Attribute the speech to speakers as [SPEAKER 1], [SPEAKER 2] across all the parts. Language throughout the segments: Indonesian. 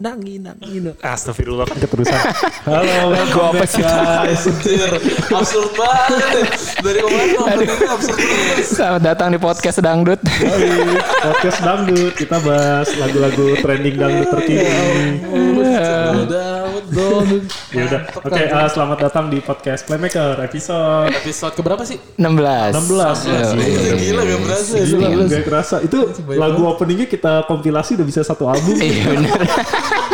[SPEAKER 1] nangi nangi nangi. Astagfirullah kan keterusan. Halo, welcome
[SPEAKER 2] apa
[SPEAKER 1] back
[SPEAKER 2] sih?
[SPEAKER 1] guys.
[SPEAKER 3] Anjir, absurd banget. Dari kemarin openingnya absurd banget.
[SPEAKER 2] Selamat datang di podcast dangdut.
[SPEAKER 1] Hai, podcast dangdut. Kita bahas lagu-lagu trending dangdut terkini.
[SPEAKER 3] Daud, Daud.
[SPEAKER 1] Ya udah.
[SPEAKER 3] Mantep,
[SPEAKER 1] Oke,
[SPEAKER 3] kan.
[SPEAKER 1] eh, selamat datang di podcast Playmaker episode
[SPEAKER 3] Episode keberapa sih?
[SPEAKER 2] 16.
[SPEAKER 1] 16.
[SPEAKER 2] iya.
[SPEAKER 3] Gila, gila gak berasa ya.
[SPEAKER 1] Gila,
[SPEAKER 3] 19.
[SPEAKER 1] gak kerasa. Itu lagu openingnya kita kompilasi udah bisa satu album.
[SPEAKER 2] Iya bener.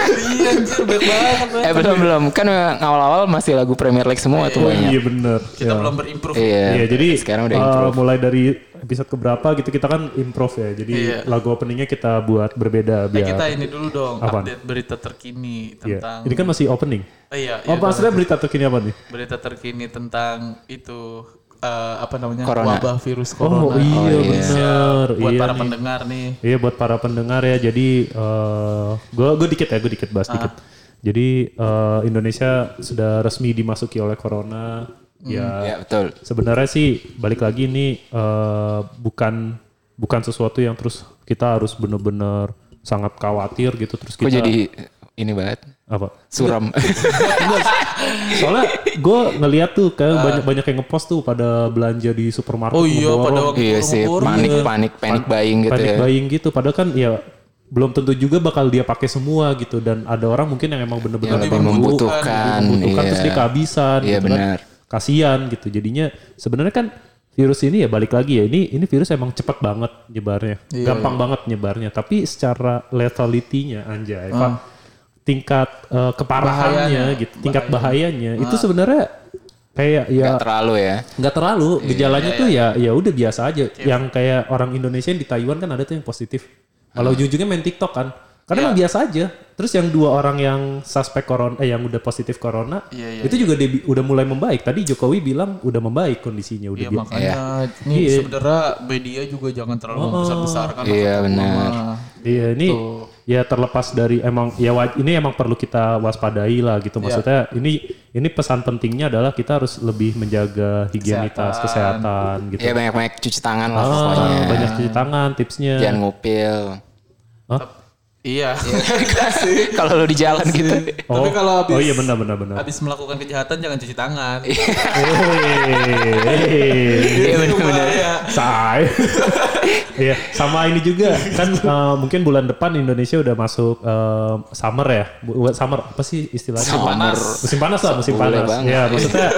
[SPEAKER 3] Iya, anjir, banyak banget.
[SPEAKER 2] Eh
[SPEAKER 3] man.
[SPEAKER 2] belum belum. Kan memang awal-awal masih lagu Premier League semua
[SPEAKER 1] Oh,
[SPEAKER 2] tuh banyak.
[SPEAKER 1] iya bener.
[SPEAKER 3] Kita
[SPEAKER 1] Ya.
[SPEAKER 3] belum berimprove.
[SPEAKER 2] Iya.
[SPEAKER 1] Iya, jadi
[SPEAKER 2] sekarang udah
[SPEAKER 1] eh,
[SPEAKER 2] improve.
[SPEAKER 1] mulai dari episode keberapa gitu kita kan improve ya. Jadi
[SPEAKER 3] Iya.
[SPEAKER 1] lagu openingnya kita buat berbeda
[SPEAKER 3] Nah,
[SPEAKER 1] biar.
[SPEAKER 3] kita ini dulu dong,
[SPEAKER 1] Apaan?
[SPEAKER 3] update berita terkini
[SPEAKER 1] Iya.
[SPEAKER 3] tentang...
[SPEAKER 1] Ini kan masih opening.
[SPEAKER 3] Eh, iya, iya,
[SPEAKER 1] Oh, maksudnya berita terkini apa nih?
[SPEAKER 3] berita terkini tentang itu... eh, apa namanya?
[SPEAKER 2] Corona.
[SPEAKER 3] Wabah virus
[SPEAKER 1] Oh,
[SPEAKER 3] corona.
[SPEAKER 1] iya, benar.
[SPEAKER 3] Buat
[SPEAKER 1] iya
[SPEAKER 3] para
[SPEAKER 1] nih.
[SPEAKER 3] pendengar nih.
[SPEAKER 1] Iya buat para pendengar ya. Jadi gue gue dikit ya, gue dikit
[SPEAKER 3] Ah.
[SPEAKER 1] bahas dikit. Jadi eh, Indonesia sudah resmi dimasuki oleh corona.
[SPEAKER 3] Hmm,
[SPEAKER 1] Ya
[SPEAKER 2] Iya betul.
[SPEAKER 1] sebenarnya sih balik lagi ini eh, bukan bukan sesuatu yang terus kita harus bener-bener sangat khawatir gitu terus
[SPEAKER 2] Kok
[SPEAKER 1] kita
[SPEAKER 2] jadi ini banget.
[SPEAKER 1] apa
[SPEAKER 2] Suram.
[SPEAKER 1] soalnya gue ngeliat tuh kayak banyak banyak yang ngepost tuh pada belanja di supermarket
[SPEAKER 3] Ah. Oh iya,
[SPEAKER 1] ngeborong.
[SPEAKER 3] pada waktu
[SPEAKER 2] iya sih. Panik panik panik buying gitu
[SPEAKER 1] panic
[SPEAKER 2] ya.
[SPEAKER 1] buying gitu padahal kan ya belum tentu juga bakal dia pakai semua gitu dan ada orang mungkin yang emang bener-bener
[SPEAKER 2] Lebih
[SPEAKER 1] perlu,
[SPEAKER 2] membutuhkan.
[SPEAKER 1] membutuhkan
[SPEAKER 2] Iya.
[SPEAKER 1] terus dia kehabisan
[SPEAKER 2] Iya,
[SPEAKER 1] gitu kan.
[SPEAKER 2] benar.
[SPEAKER 1] kasian gitu jadinya sebenarnya kan virus ini ya balik lagi ya ini ini virus emang cepat banget nyebarnya gampang banget nyebarnya tapi secara lethality-nya anjay Pak tingkat eh, keparahannya gitu tingkat bahayanya itu sebenarnya kayak ya
[SPEAKER 2] Nggak terlalu ya.
[SPEAKER 1] nggak terlalu
[SPEAKER 3] Iya,
[SPEAKER 1] gejalanya tuh ya ya udah biasa aja yang kayak orang Indonesia yang di Taiwan kan ada tuh yang positif kalau ujung-ujungnya main TikTok kan
[SPEAKER 3] Iya.
[SPEAKER 1] karena emang biasa aja terus yang dua orang yang suspek corona eh yang udah positif corona
[SPEAKER 3] Iya, iya,
[SPEAKER 1] itu juga dia bi- udah mulai membaik tadi Jokowi bilang udah membaik kondisinya udah
[SPEAKER 3] Iya
[SPEAKER 1] bi-
[SPEAKER 3] makanya nih
[SPEAKER 1] Iya.
[SPEAKER 3] sebenarnya media juga jangan
[SPEAKER 1] Oh.
[SPEAKER 3] terlalu kan. membesar-besarkan.
[SPEAKER 2] Iya benar.
[SPEAKER 3] Nah,
[SPEAKER 1] Iya ini ya terlepas dari emang ya wa- ini emang perlu kita waspadai lah
[SPEAKER 3] Iya.
[SPEAKER 1] gitu maksudnya ini ini pesan pentingnya adalah kita harus lebih menjaga higienitas kesehatan, gitu
[SPEAKER 2] Iya banyak banyak cuci tangan lah
[SPEAKER 1] Ah,
[SPEAKER 2] pokoknya.
[SPEAKER 1] banyak cuci tangan tipsnya
[SPEAKER 2] Jangan ngupil.
[SPEAKER 3] Iya.
[SPEAKER 2] Kalau lu di jalan gitu.
[SPEAKER 1] Oh,
[SPEAKER 3] Tapi kalau habis
[SPEAKER 1] oh iya benar benar benar.
[SPEAKER 3] habis melakukan kejahatan jangan cuci tangan.
[SPEAKER 1] Iya. Hehehe.
[SPEAKER 2] Iya benar-benar.
[SPEAKER 3] Bahaya.
[SPEAKER 1] Say. Iya, sama ini juga kan eh, mungkin bulan depan Indonesia udah masuk eh, summer ya. Bu- Summer apa sih istilahnya?
[SPEAKER 2] Summer. Panas.
[SPEAKER 1] Musim panas lah, musim
[SPEAKER 2] Boleh
[SPEAKER 1] panas.
[SPEAKER 2] banget.
[SPEAKER 1] Ya, maksudnya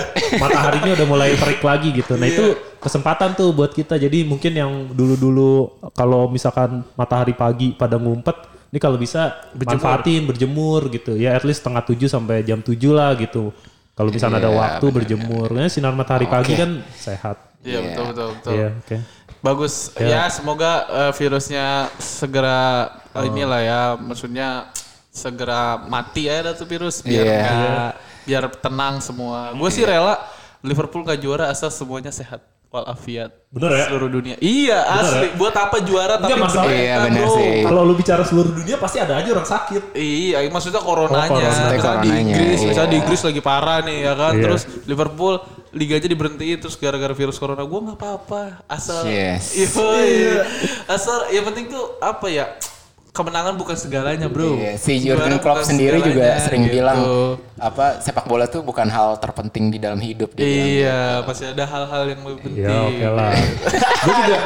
[SPEAKER 1] mataharinya udah mulai terik lagi gitu. Nah, itu kesempatan tuh buat kita. Jadi mungkin yang dulu-dulu kalau misalkan matahari pagi pada ngumpet ini kalau bisa manfaatin berjemur gitu ya at least setengah tujuh sampai jam tujuh lah gitu kalau misalnya
[SPEAKER 2] Iya,
[SPEAKER 1] ada waktu berjemur Nah, sinar matahari pagi kan sehat
[SPEAKER 3] Iya betul betul betul.
[SPEAKER 1] Iya, oke
[SPEAKER 3] Bagus. Ya semoga eh, virusnya segera
[SPEAKER 2] Oh.
[SPEAKER 3] eh, inilah ya maksudnya segera mati ya tuh virus biar
[SPEAKER 2] Iya.
[SPEAKER 3] nggak- biar tenang semua. Gue sih rela Liverpool gak juara asal semuanya sehat walafiat
[SPEAKER 1] Bener ya?
[SPEAKER 3] seluruh dunia. Iya asli. Buat apa juara tapi
[SPEAKER 1] Enggak masalah.
[SPEAKER 2] ya? Iya
[SPEAKER 3] kesehatan,
[SPEAKER 2] benar
[SPEAKER 3] bro.
[SPEAKER 2] sih.
[SPEAKER 1] Kalau lu bicara seluruh dunia pasti ada aja orang sakit.
[SPEAKER 3] Iya, maksudnya coronanya.
[SPEAKER 1] Oh, corona.
[SPEAKER 3] Misalnya di
[SPEAKER 2] Coronanya,
[SPEAKER 3] Inggris,
[SPEAKER 2] iya.
[SPEAKER 3] misalnya di Inggris lagi parah nih ya kan.
[SPEAKER 1] Iya.
[SPEAKER 3] Terus Liverpool liganya diberhentiin terus gara-gara virus corona. Gue nggak apa-apa. Asal
[SPEAKER 2] Yes.
[SPEAKER 3] Iya, iya. Asal yang penting tuh apa ya? Kemenangan bukan segalanya, Bro.
[SPEAKER 2] Iya, si
[SPEAKER 3] Juara
[SPEAKER 2] Jurgen Klopp
[SPEAKER 3] bukan
[SPEAKER 2] sendiri juga
[SPEAKER 3] segalanya,
[SPEAKER 2] sering
[SPEAKER 3] gitu.
[SPEAKER 2] bilang apa sepak bola tuh bukan hal terpenting di dalam hidup dia. bilang.
[SPEAKER 3] Iya, pasti ada hal-hal yang lebih penting.
[SPEAKER 1] Ya oke lah.
[SPEAKER 3] Gue juga.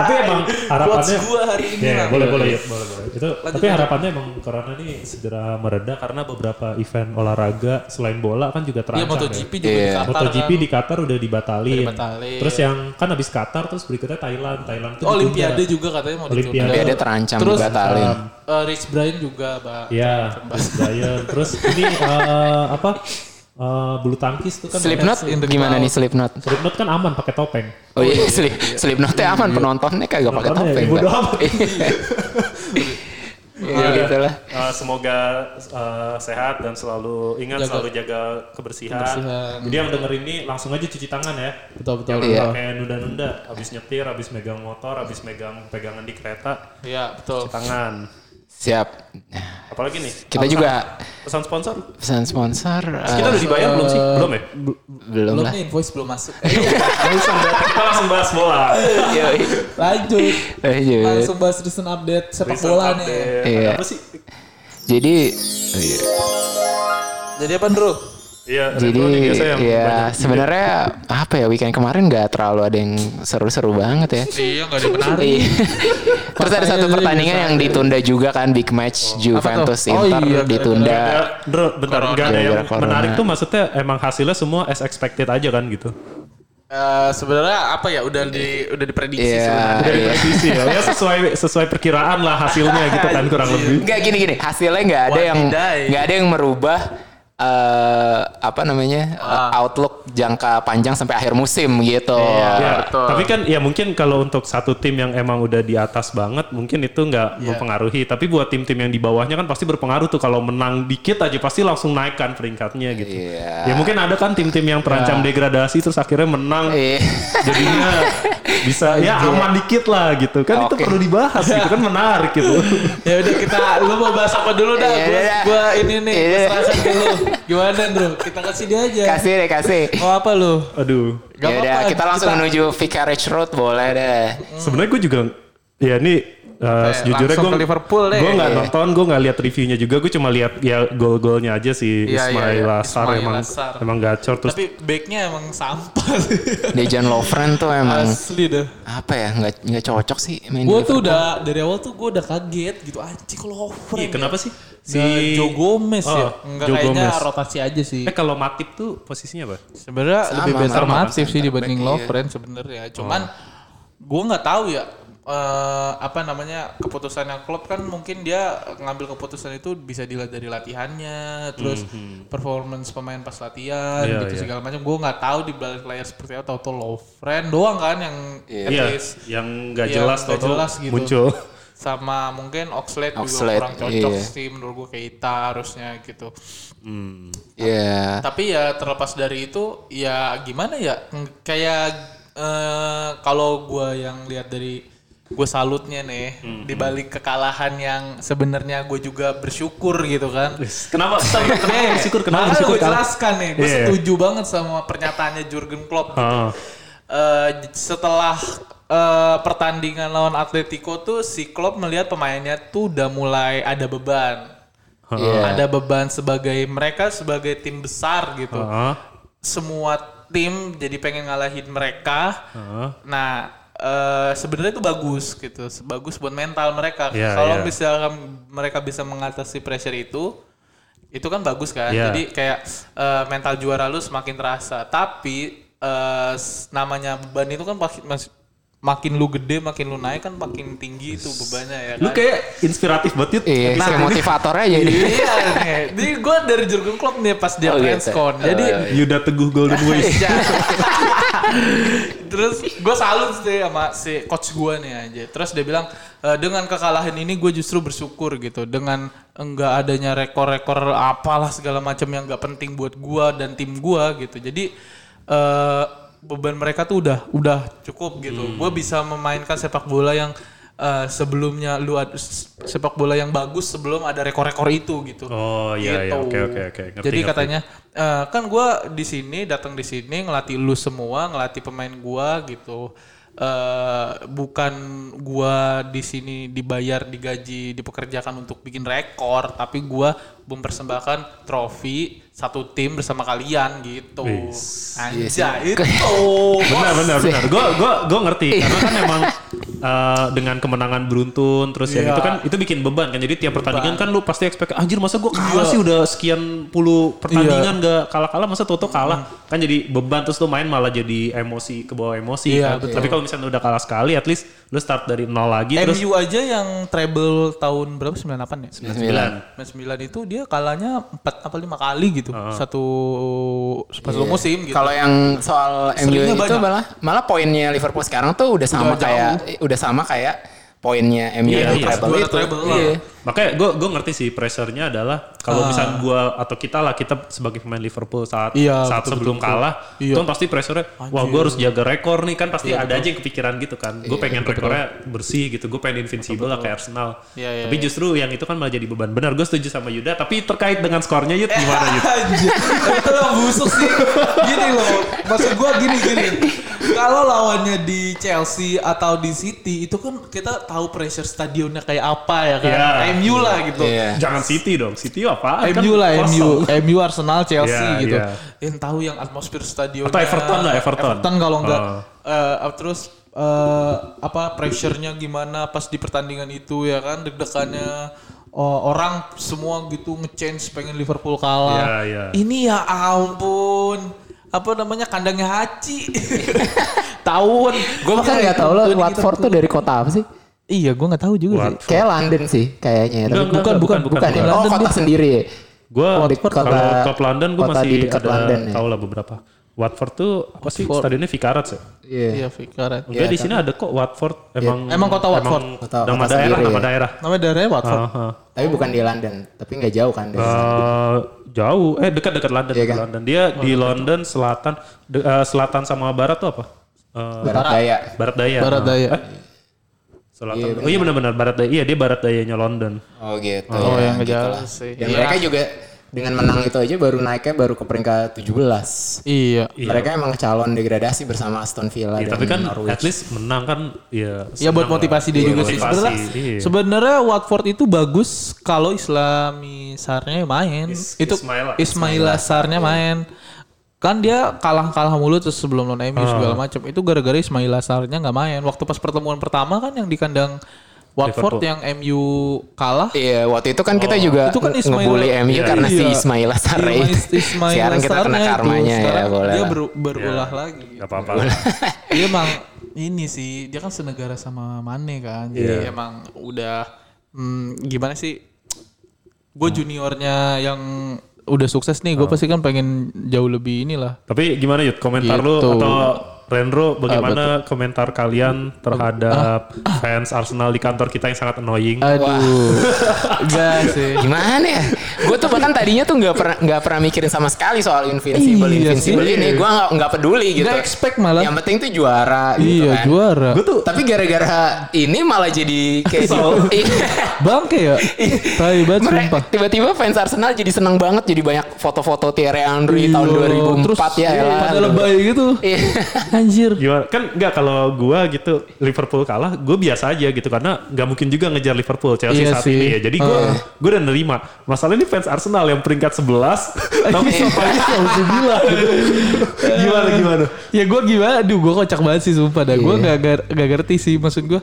[SPEAKER 1] tapi emang harapannya
[SPEAKER 3] gue hari ini.
[SPEAKER 1] Ya, ya,
[SPEAKER 3] lah. Iya,
[SPEAKER 1] boleh boleh ya, boleh boleh. Itu tapi harapannya emang corona ini segera mereda karena beberapa event olahraga selain bola kan juga
[SPEAKER 3] Iya,
[SPEAKER 1] terancam.
[SPEAKER 3] MotoGP juga
[SPEAKER 1] ya.
[SPEAKER 3] di
[SPEAKER 2] Iya.
[SPEAKER 3] Qatar kan.
[SPEAKER 1] MotoGP di Qatar udah dibatalin.
[SPEAKER 3] Udah dibatalin.
[SPEAKER 1] Terus yang kan habis Qatar terus berikutnya Thailand. Thailand tuh
[SPEAKER 3] Oh,
[SPEAKER 1] ditunda.
[SPEAKER 3] Olimpiade juga katanya mau ditunda.
[SPEAKER 1] Olimpiade.
[SPEAKER 2] Tapi ada terancam
[SPEAKER 3] Terus,
[SPEAKER 2] dibatalin.
[SPEAKER 3] Eh, Rich Brian juga, Pak.
[SPEAKER 1] Iya, terus Brian. Terus ini eh, apa? eh, bulu tangkis tuh kan
[SPEAKER 2] Slipknot
[SPEAKER 3] in the
[SPEAKER 2] gimana
[SPEAKER 3] cloud.
[SPEAKER 2] nih Slipknot?
[SPEAKER 1] Slipknot kan aman pakai topeng.
[SPEAKER 2] Oh iya, slip, Slipknotnya aman penontonnya kagak pakai
[SPEAKER 1] Penontonnya
[SPEAKER 2] topeng.
[SPEAKER 1] bodo
[SPEAKER 2] Pak.
[SPEAKER 1] amat.
[SPEAKER 2] Iya gitu lah.
[SPEAKER 1] Uh, semoga uh, sehat dan selalu ingat selalu jaga kebersihan.
[SPEAKER 3] Kebersihan.
[SPEAKER 1] Jadi yang denger ini langsung aja cuci tangan ya.
[SPEAKER 3] Betul betul.
[SPEAKER 1] Jangan
[SPEAKER 2] Iya.
[SPEAKER 1] pakai nunda-nunda. Habis nyetir, habis megang motor, habis megang pegangan di kereta,
[SPEAKER 3] Iya, betul.
[SPEAKER 1] tangan.
[SPEAKER 2] Siap.
[SPEAKER 1] Apalagi nih
[SPEAKER 2] Kita juga
[SPEAKER 1] pesan sponsor.
[SPEAKER 2] pesan sponsor eh,
[SPEAKER 1] Kita udah dibayar belum sih? Belum ya?
[SPEAKER 2] belum
[SPEAKER 3] Belum
[SPEAKER 2] lah.
[SPEAKER 3] nih invoice belum masuk. Eh,
[SPEAKER 1] Langsung bahas- kita langsung bahas bola.
[SPEAKER 2] Yoi.
[SPEAKER 3] Lanjut.
[SPEAKER 2] Lanjut. Iya.
[SPEAKER 3] Langsung bahas recent update sepak
[SPEAKER 1] Recent
[SPEAKER 3] bola nih.
[SPEAKER 1] update.
[SPEAKER 2] Iya.
[SPEAKER 1] Apa sih?
[SPEAKER 2] Jadi oh iya.
[SPEAKER 3] Jadi apa Bro?
[SPEAKER 4] Iya,
[SPEAKER 2] jadi
[SPEAKER 4] elektronik biasa yang
[SPEAKER 2] ya sebenarnya apa ya weekend kemarin nggak terlalu ada yang seru-seru banget ya.
[SPEAKER 3] Iya nggak ada benar.
[SPEAKER 2] Iya. Terus ada satu
[SPEAKER 3] Faktanya
[SPEAKER 2] pertandingan
[SPEAKER 3] aja
[SPEAKER 2] yang ditunda juga kan big match Juventus
[SPEAKER 3] tuh? Oh iya,
[SPEAKER 2] Inter ditunda.
[SPEAKER 1] Ya, Bro, bentar enggak ada
[SPEAKER 2] Gara-gara
[SPEAKER 1] yang
[SPEAKER 2] Iya, corona.
[SPEAKER 1] menarik tuh maksudnya emang hasilnya semua as expected aja kan gitu.
[SPEAKER 3] Eh, sebenarnya apa ya udah di udah diprediksi
[SPEAKER 2] Iya,
[SPEAKER 3] sebenarnya.
[SPEAKER 2] iya.
[SPEAKER 1] Prediksi ya. Ya sesuai sesuai perkiraan lah hasilnya gitu kan kurang lebih.
[SPEAKER 2] Enggak gini gini, hasilnya nggak ada yang
[SPEAKER 3] Wadidai.
[SPEAKER 2] nggak ada yang merubah eh, apa namanya
[SPEAKER 3] Ah.
[SPEAKER 2] eh, outlook jangka panjang sampai akhir musim gitu.
[SPEAKER 1] Ya,
[SPEAKER 3] Iya, betul.
[SPEAKER 1] tapi kan ya mungkin kalau untuk satu tim yang emang udah di atas banget mungkin itu
[SPEAKER 2] Iya.
[SPEAKER 1] nggak mempengaruhi. Tapi buat tim-tim yang di bawahnya kan pasti berpengaruh tuh kalau menang dikit aja pasti langsung naikkan peringkatnya gitu.
[SPEAKER 2] Iya.
[SPEAKER 1] Ya mungkin ada kan tim-tim yang terancam degradasi terus akhirnya menang
[SPEAKER 2] Iya.
[SPEAKER 1] jadinya bisa
[SPEAKER 3] Iya.
[SPEAKER 1] ya aman dikit lah gitu. Kan itu
[SPEAKER 2] Oke.
[SPEAKER 1] perlu dibahas gitu kan menarik gitu.
[SPEAKER 3] Ya udah kita lu mau bahas apa dulu dah?
[SPEAKER 2] Iya,
[SPEAKER 3] Gua,
[SPEAKER 2] iya.
[SPEAKER 3] gua ini nih
[SPEAKER 2] Iya, iya.
[SPEAKER 3] keserasian dulu. Gimana Bro? Kita kasih dia aja.
[SPEAKER 2] Kasih deh kasih.
[SPEAKER 3] Mau apa lu?
[SPEAKER 1] Aduh.
[SPEAKER 3] Nggak
[SPEAKER 2] Yaudah,
[SPEAKER 3] apa-apa,
[SPEAKER 2] kita langsung
[SPEAKER 3] kita-
[SPEAKER 2] menuju Vicarage Road boleh deh.
[SPEAKER 1] Sebenarnya gue juga ya ini uh,
[SPEAKER 3] Hmm.
[SPEAKER 1] sejujurnya
[SPEAKER 3] langsung
[SPEAKER 1] gue
[SPEAKER 3] ke Liverpool deh.
[SPEAKER 1] gue nggak
[SPEAKER 2] Iya.
[SPEAKER 1] nonton, gue nggak lihat reviewnya juga, gue cuma lihat ya gol-golnya aja sih
[SPEAKER 3] Iya,
[SPEAKER 1] Ismail
[SPEAKER 3] iya, iya.
[SPEAKER 1] Lassar
[SPEAKER 3] Ismail
[SPEAKER 1] emang
[SPEAKER 3] Lassar.
[SPEAKER 1] emang gacor terus
[SPEAKER 3] Tapi backnya emang sampah.
[SPEAKER 2] Dejan Lovren tuh emang
[SPEAKER 3] Asli dah.
[SPEAKER 2] apa ya nggak nggak cocok sih main
[SPEAKER 3] Gue
[SPEAKER 2] di
[SPEAKER 3] tuh udah dari awal tuh gue udah kaget gitu anjing kalau over.
[SPEAKER 1] Iya, kenapa sih?
[SPEAKER 3] Si Joe Gomez ya.
[SPEAKER 1] Oh,
[SPEAKER 3] Enggak
[SPEAKER 1] Joe
[SPEAKER 3] kayaknya
[SPEAKER 1] Gomez.
[SPEAKER 3] rotasi aja sih.
[SPEAKER 1] Eh kalau Matip tuh posisinya apa?
[SPEAKER 3] Sebenarnya
[SPEAKER 2] Sama,
[SPEAKER 3] lebih better
[SPEAKER 2] sama,
[SPEAKER 3] Matip
[SPEAKER 2] sama.
[SPEAKER 3] sih dibanding
[SPEAKER 2] Iya.
[SPEAKER 3] Lovren sebenarnya. Cuman gue nggak tahu ya eh, apa namanya keputusannya Klopp kan mungkin dia ngambil keputusan itu bisa dilihat dari latihannya, terus performance pemain pas latihan
[SPEAKER 1] Iya,
[SPEAKER 3] gitu
[SPEAKER 1] iya.
[SPEAKER 3] segala macam. Gue nggak tahu di balik layar seperti apa tahu tuh Lovren doang kan yang at
[SPEAKER 1] Iya,
[SPEAKER 3] least
[SPEAKER 1] yang nggak
[SPEAKER 3] Iya,
[SPEAKER 1] jelas
[SPEAKER 3] nggak
[SPEAKER 1] tau-tau
[SPEAKER 3] jelas gitu.
[SPEAKER 1] muncul.
[SPEAKER 3] sama mungkin Oxlade,
[SPEAKER 2] Oxlade,
[SPEAKER 3] juga kurang cocok
[SPEAKER 2] iya.
[SPEAKER 3] sih menurut gue Keita harusnya gitu.
[SPEAKER 2] Iya.
[SPEAKER 3] Tapi ya terlepas dari itu ya gimana ya ng- kayak eh, kalau gua yang lihat dari gue salutnya nih
[SPEAKER 1] Hmm.
[SPEAKER 3] dibalik kekalahan yang sebenarnya gue juga bersyukur gitu kan.
[SPEAKER 1] Kenapa? kenapa
[SPEAKER 3] Eh,
[SPEAKER 1] bersyukur? Kenapa
[SPEAKER 3] makanya
[SPEAKER 1] bersyukur?
[SPEAKER 3] gua jelaskan nih, gue
[SPEAKER 1] Iya.
[SPEAKER 3] setuju banget sama pernyataannya Jurgen Klopp. gitu.
[SPEAKER 1] Ah.
[SPEAKER 3] Eh, j- setelah eh, pertandingan lawan Atletico tuh si Klopp melihat pemainnya tuh udah mulai ada beban.
[SPEAKER 2] Iya.
[SPEAKER 3] Ada beban sebagai mereka sebagai tim besar gitu.
[SPEAKER 1] Ah.
[SPEAKER 3] Semua tim jadi pengen ngalahin mereka.
[SPEAKER 1] Ah.
[SPEAKER 3] Nah, eh, sebenarnya itu bagus gitu, bagus buat mental mereka.
[SPEAKER 1] Iya,
[SPEAKER 3] Kalau
[SPEAKER 1] iya.
[SPEAKER 3] misalkan mereka bisa mengatasi pressure itu, itu kan bagus kan.
[SPEAKER 1] Iya.
[SPEAKER 3] Jadi kayak eh, mental juara lu semakin terasa. Tapi eh, s- namanya beban itu kan makin, mas- makin lu gede, makin lu naik kan makin tinggi itu bebannya ya.
[SPEAKER 1] Lu
[SPEAKER 3] kan?
[SPEAKER 1] kayak inspiratif banget Yud.
[SPEAKER 2] Iya,
[SPEAKER 1] Nah,
[SPEAKER 2] kayak
[SPEAKER 1] ini
[SPEAKER 2] motivatornya jadi.
[SPEAKER 3] iya nih. Jadi gue dari Jurgen Klopp nih pas dia
[SPEAKER 2] Oh, gitu.
[SPEAKER 3] transcon.
[SPEAKER 1] iya.
[SPEAKER 3] Nah, Jadi
[SPEAKER 2] Oh,
[SPEAKER 1] Yuda Teguh Golden Voice.
[SPEAKER 3] Iya. Terus gue salut sih sama si coach gue nih aja. Terus dia bilang e, dengan kekalahan ini gue justru bersyukur gitu. Dengan enggak adanya rekor-rekor apalah segala macam yang enggak penting buat gue dan tim gue gitu. Jadi eh, beban mereka tuh udah udah cukup gitu. Gue bisa memainkan sepak bola yang eh, sebelumnya lu ad- s- sepak bola yang bagus sebelum ada rekor-rekor itu gitu.
[SPEAKER 1] Oh iya
[SPEAKER 3] Gitu.
[SPEAKER 1] iya oke oke oke. Ngerti,
[SPEAKER 3] Jadi
[SPEAKER 1] ngerti.
[SPEAKER 3] katanya "Eh, kan gua di sini datang di sini ngelatih lu semua, ngelatih pemain gua gitu. eh bukan gua di sini dibayar, digaji, dipekerjakan untuk bikin rekor, tapi gua mempersembahkan trofi satu tim bersama kalian gitu.
[SPEAKER 1] Wis.
[SPEAKER 2] Iya
[SPEAKER 3] Anjay, itu.
[SPEAKER 1] benar benar benar gue gue gue ngerti karena kan emang eh, dengan kemenangan beruntun terus
[SPEAKER 3] Iya.
[SPEAKER 1] yang itu kan itu bikin beban kan jadi tiap pertandingan kan lu pasti expect anjir masa gue kalah
[SPEAKER 3] Iya.
[SPEAKER 1] sih udah sekian puluh pertandingan gak kalah kalah masa toto kalah
[SPEAKER 3] Hmm.
[SPEAKER 1] kan jadi beban terus lu main malah jadi emosi ke bawah emosi
[SPEAKER 3] Iya,
[SPEAKER 1] kan.
[SPEAKER 3] betul.
[SPEAKER 1] tapi kalau misalnya udah kalah sekali at least lu start dari nol lagi terus
[SPEAKER 3] MU aja yang treble tahun berapa? 98 ya?
[SPEAKER 2] Sembilan.
[SPEAKER 3] Match Milan itu dia kalahnya 4 apa 5 kali gitu. Satu satu musim gitu.
[SPEAKER 2] Iya. Kalau yang soal MU
[SPEAKER 3] Seringnya
[SPEAKER 2] itu
[SPEAKER 3] banyak.
[SPEAKER 2] malah malah poinnya Liverpool sekarang tuh udah sama
[SPEAKER 3] Udah jauh.
[SPEAKER 2] kayak eh, udah sama kayak poinnya MU
[SPEAKER 1] Iya,
[SPEAKER 2] yang
[SPEAKER 1] iya.
[SPEAKER 2] treble
[SPEAKER 3] Juara
[SPEAKER 2] itu.
[SPEAKER 3] treble lah.
[SPEAKER 2] Iya.
[SPEAKER 1] Makanya gue gue ngerti sih pressure-nya adalah
[SPEAKER 3] Ah.
[SPEAKER 1] kalau misalnya gue atau kita lah kita sebagai pemain Liverpool saat
[SPEAKER 3] Iya,
[SPEAKER 1] saat
[SPEAKER 3] betul,
[SPEAKER 1] sebelum
[SPEAKER 3] betul.
[SPEAKER 1] kalah
[SPEAKER 3] Iya.
[SPEAKER 1] itu kan pasti pressure-nya wah gue harus jaga rekor nih kan pasti ada aja yang kepikiran gitu kan
[SPEAKER 3] Iya,
[SPEAKER 1] gue pengen rekornya bersih gitu gue pengen invincible lah kayak Arsenal
[SPEAKER 3] Iya, iya,
[SPEAKER 1] tapi justru yang itu kan malah jadi beban benar gue setuju sama Yuda tapi terkait dengan skornya Yud gimana Yud
[SPEAKER 3] Anjir, itu yang busuk sih. Gini loh, maksud gua gini gini. Kalau lawannya di Chelsea atau di City itu kan kita tahu pressure stadionnya kayak apa ya kan.
[SPEAKER 1] Iya.
[SPEAKER 3] MU lah gitu.
[SPEAKER 2] Iya.
[SPEAKER 1] Jangan City dong. City Kan apa?
[SPEAKER 3] MU lah, MU, MU, Arsenal, Chelsea
[SPEAKER 1] Iya,
[SPEAKER 3] gitu.
[SPEAKER 1] iya.
[SPEAKER 3] Yang tahu yang atmosfer stadionnya.
[SPEAKER 1] Atau Everton lah, Everton.
[SPEAKER 3] kalau enggak
[SPEAKER 1] Ah.
[SPEAKER 3] eh, terus eh, apa pressure-nya gimana pas di pertandingan itu ya kan deg-degannya oh, orang semua gitu nge-change pengen Liverpool kalah.
[SPEAKER 1] Iya, iya.
[SPEAKER 3] Ini ya ampun. Apa namanya kandangnya Haji. Tahun.
[SPEAKER 2] Gue bahkan nggak tahu loh Watford tuh dari kota apa sih?
[SPEAKER 3] Iya, gua nggak tahu juga sih.
[SPEAKER 2] Kayak London sih kayaknya. ya. Tapi
[SPEAKER 1] Enggak, enggak,
[SPEAKER 2] bukan, bukan,
[SPEAKER 1] bukan,
[SPEAKER 2] bukan,
[SPEAKER 1] bukan,
[SPEAKER 2] ya.
[SPEAKER 1] bukan.
[SPEAKER 2] Oh
[SPEAKER 3] London
[SPEAKER 2] kota
[SPEAKER 3] dia.
[SPEAKER 2] sendiri ya?
[SPEAKER 1] Gue
[SPEAKER 2] Oh, di
[SPEAKER 1] Watford
[SPEAKER 2] kota-
[SPEAKER 1] kalau klub London gue
[SPEAKER 2] kota
[SPEAKER 1] masih
[SPEAKER 2] di dekat
[SPEAKER 1] ada
[SPEAKER 2] London ya.
[SPEAKER 1] tahu lah beberapa. Watford tuh apa sih
[SPEAKER 3] Watford.
[SPEAKER 1] stadionnya Vicarage ya?
[SPEAKER 2] Iya. kan?
[SPEAKER 3] Iya, Fikaret.
[SPEAKER 1] Enggak di sini ada kok Watford emang
[SPEAKER 3] Emang kota Watford?
[SPEAKER 1] emang
[SPEAKER 2] Kota-
[SPEAKER 1] nama
[SPEAKER 2] kota
[SPEAKER 1] daerah
[SPEAKER 2] sendiri
[SPEAKER 1] nama
[SPEAKER 2] ya.
[SPEAKER 1] daerah.
[SPEAKER 3] Namanya daerahnya Watford.
[SPEAKER 1] Aha.
[SPEAKER 2] Tapi bukan di London, tapi nggak jauh kan dari sana.
[SPEAKER 1] Eh, jauh eh dekat-dekat London,
[SPEAKER 2] Iya
[SPEAKER 1] dekat
[SPEAKER 2] kan?
[SPEAKER 1] London. Dia di London selatan de- eh, selatan sama barat tuh apa? Eh,
[SPEAKER 2] Barat Daya.
[SPEAKER 1] barat daya.
[SPEAKER 3] Barat
[SPEAKER 1] Nah,
[SPEAKER 3] Daya.
[SPEAKER 1] eh, selatan. oh iya benar-benar barat daya. Iya dia barat dayanya London.
[SPEAKER 2] Oh gitu.
[SPEAKER 3] Oh, yang nggak
[SPEAKER 2] gitu
[SPEAKER 3] jauh
[SPEAKER 2] lah.
[SPEAKER 3] sih.
[SPEAKER 2] Dan
[SPEAKER 3] Iya.
[SPEAKER 2] mereka juga dengan menang itu aja baru naiknya baru ke peringkat 17.
[SPEAKER 3] Iya.
[SPEAKER 2] Mereka emang calon degradasi bersama Aston Villa
[SPEAKER 1] Iya,
[SPEAKER 2] dan
[SPEAKER 1] tapi kan
[SPEAKER 2] Norwich.
[SPEAKER 1] at least menang kan ya.
[SPEAKER 3] Ya buat motivasi dia juga sih. Sebenarnya
[SPEAKER 1] iya.
[SPEAKER 3] sebenarnya Watford itu bagus kalau Islami Sarnya main.
[SPEAKER 1] Is-
[SPEAKER 3] itu
[SPEAKER 1] Ismaila. Iya.
[SPEAKER 3] Ismaila Sarnya main. Kan dia kalah-kalah mulu terus sebelum non MU
[SPEAKER 1] Ah.
[SPEAKER 3] segala macam. Itu gara-gara Ismaila Sarnya nggak main. Waktu pas pertemuan pertama kan yang di kandang Watford
[SPEAKER 1] Liverpool.
[SPEAKER 3] yang MU kalah.
[SPEAKER 2] Iya, waktu itu kan
[SPEAKER 1] Oh.
[SPEAKER 2] kita juga
[SPEAKER 3] Itu kan
[SPEAKER 2] nge-
[SPEAKER 3] Ismail-
[SPEAKER 2] ngebully MU
[SPEAKER 3] Iya,
[SPEAKER 2] karena si
[SPEAKER 3] iya.
[SPEAKER 2] Ismail Asare
[SPEAKER 3] Ismail-
[SPEAKER 2] itu.
[SPEAKER 3] Ismaila
[SPEAKER 2] Sekarang kita kena
[SPEAKER 3] Sarnya itu.
[SPEAKER 2] karmanya ya,
[SPEAKER 3] Sekarang
[SPEAKER 2] boleh
[SPEAKER 3] Dia
[SPEAKER 2] lah.
[SPEAKER 3] beru- berulah
[SPEAKER 1] Iya.
[SPEAKER 3] lagi.
[SPEAKER 1] Gak apa-apa.
[SPEAKER 3] dia emang ini sih dia kan senegara sama Mane kan
[SPEAKER 2] Iya.
[SPEAKER 3] jadi emang udah hmm, gimana sih gue juniornya yang udah sukses nih
[SPEAKER 2] Oh.
[SPEAKER 3] gue pasti kan pengen jauh lebih inilah
[SPEAKER 1] Tapi gimana Yud? Komentar lu
[SPEAKER 3] Gitu. Ah,
[SPEAKER 1] atau Renro bagaimana komentar kalian terhadap fans Arsenal di kantor kita yang sangat annoying?
[SPEAKER 3] Ah. aduh enggak sih
[SPEAKER 2] Gimana ya? Gue tuh bahkan tadinya tuh nggak pernah nggak pernah mikirin sama sekali soal invincible
[SPEAKER 3] Iya
[SPEAKER 2] invincible
[SPEAKER 3] sih.
[SPEAKER 2] ini. Gue nggak nggak peduli gitu.
[SPEAKER 3] Nggak expect malah.
[SPEAKER 2] Yang penting tuh juara. gitu
[SPEAKER 3] iya
[SPEAKER 2] kan.
[SPEAKER 3] juara
[SPEAKER 2] Gua tuh- Tapi gara-gara ini malah jadi kayak di- Iya.
[SPEAKER 3] bangke ya tai banget
[SPEAKER 2] Mereka
[SPEAKER 3] sumpah
[SPEAKER 2] tiba-tiba fans Arsenal jadi seneng banget jadi banyak foto-foto Thierry Henry tahun
[SPEAKER 3] Iya,
[SPEAKER 2] 2004
[SPEAKER 3] iya,
[SPEAKER 2] ya. elah.
[SPEAKER 3] pada lebay gitu
[SPEAKER 2] Iya.
[SPEAKER 3] anjir
[SPEAKER 1] Gimana? Kan nggak kalau gua gitu Liverpool kalah, gue biasa aja gitu karena nggak mungkin juga ngejar Liverpool Chelsea
[SPEAKER 3] Iya
[SPEAKER 1] saat
[SPEAKER 3] sih. Ah.
[SPEAKER 1] ini ya. Jadi gue
[SPEAKER 3] Heeh.
[SPEAKER 1] gue udah nerima. Masalahnya ini fans Arsenal yang peringkat 11 tapi
[SPEAKER 3] Iya.
[SPEAKER 1] sopannya Chelsea gila. gimana gimana?
[SPEAKER 3] ya gue gimana aduh gue kocak banget sih sumpah dah
[SPEAKER 1] Iya.
[SPEAKER 3] gue gak, gak- gak ngerti sih maksud gue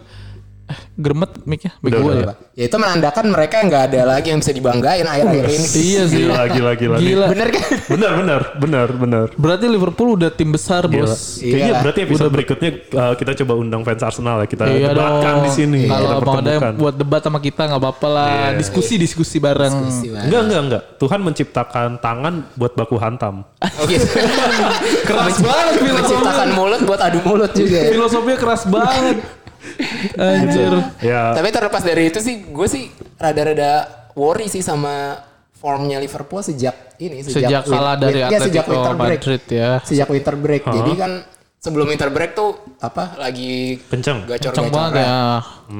[SPEAKER 3] germet mic-nya mic gue ya
[SPEAKER 2] Ya itu menandakan mereka nggak ada lagi yang bisa dibanggain akhir-akhir ini.
[SPEAKER 3] iya sih
[SPEAKER 1] Gila gila gila. nih.
[SPEAKER 3] Gila.
[SPEAKER 2] Bener kan?
[SPEAKER 1] Benar benar benar benar.
[SPEAKER 3] Berarti Liverpool udah tim besar,
[SPEAKER 1] Gila.
[SPEAKER 3] Bos.
[SPEAKER 1] Kayaknya
[SPEAKER 2] Iyalah.
[SPEAKER 1] berarti episode berikutnya uh, kita coba undang fans Arsenal ya kita
[SPEAKER 3] Iya
[SPEAKER 1] debatkan
[SPEAKER 3] dong.
[SPEAKER 1] di sini.
[SPEAKER 3] Kalau abang
[SPEAKER 1] Kita
[SPEAKER 3] ada yang
[SPEAKER 1] pertemukan. Iya.
[SPEAKER 3] buat debat sama kita nggak apa-apa lah. Diskusi-diskusi bareng.
[SPEAKER 2] Iya.
[SPEAKER 1] Enggak enggak enggak. Tuhan menciptakan tangan buat baku hantam.
[SPEAKER 2] Oh, gitu.
[SPEAKER 3] Keras banget
[SPEAKER 2] Menciptakan
[SPEAKER 3] filosofinya.
[SPEAKER 2] mulut buat adu mulut juga. ya.
[SPEAKER 3] Filosofinya keras banget. Anjir.
[SPEAKER 1] ya.
[SPEAKER 2] Tapi terlepas dari itu sih, gue sih rada-rada worry sih sama formnya Liverpool sejak ini
[SPEAKER 3] Sejak
[SPEAKER 2] win-
[SPEAKER 3] kalah
[SPEAKER 2] win-
[SPEAKER 3] dari
[SPEAKER 2] ya, sejak
[SPEAKER 3] Atletico
[SPEAKER 2] winter break.
[SPEAKER 3] Madrid ya.
[SPEAKER 2] Sejak winter break. Jadi kan sebelum winter break tuh apa lagi
[SPEAKER 1] Kenceng.
[SPEAKER 3] Kenceng banget
[SPEAKER 2] gacor-gacoran.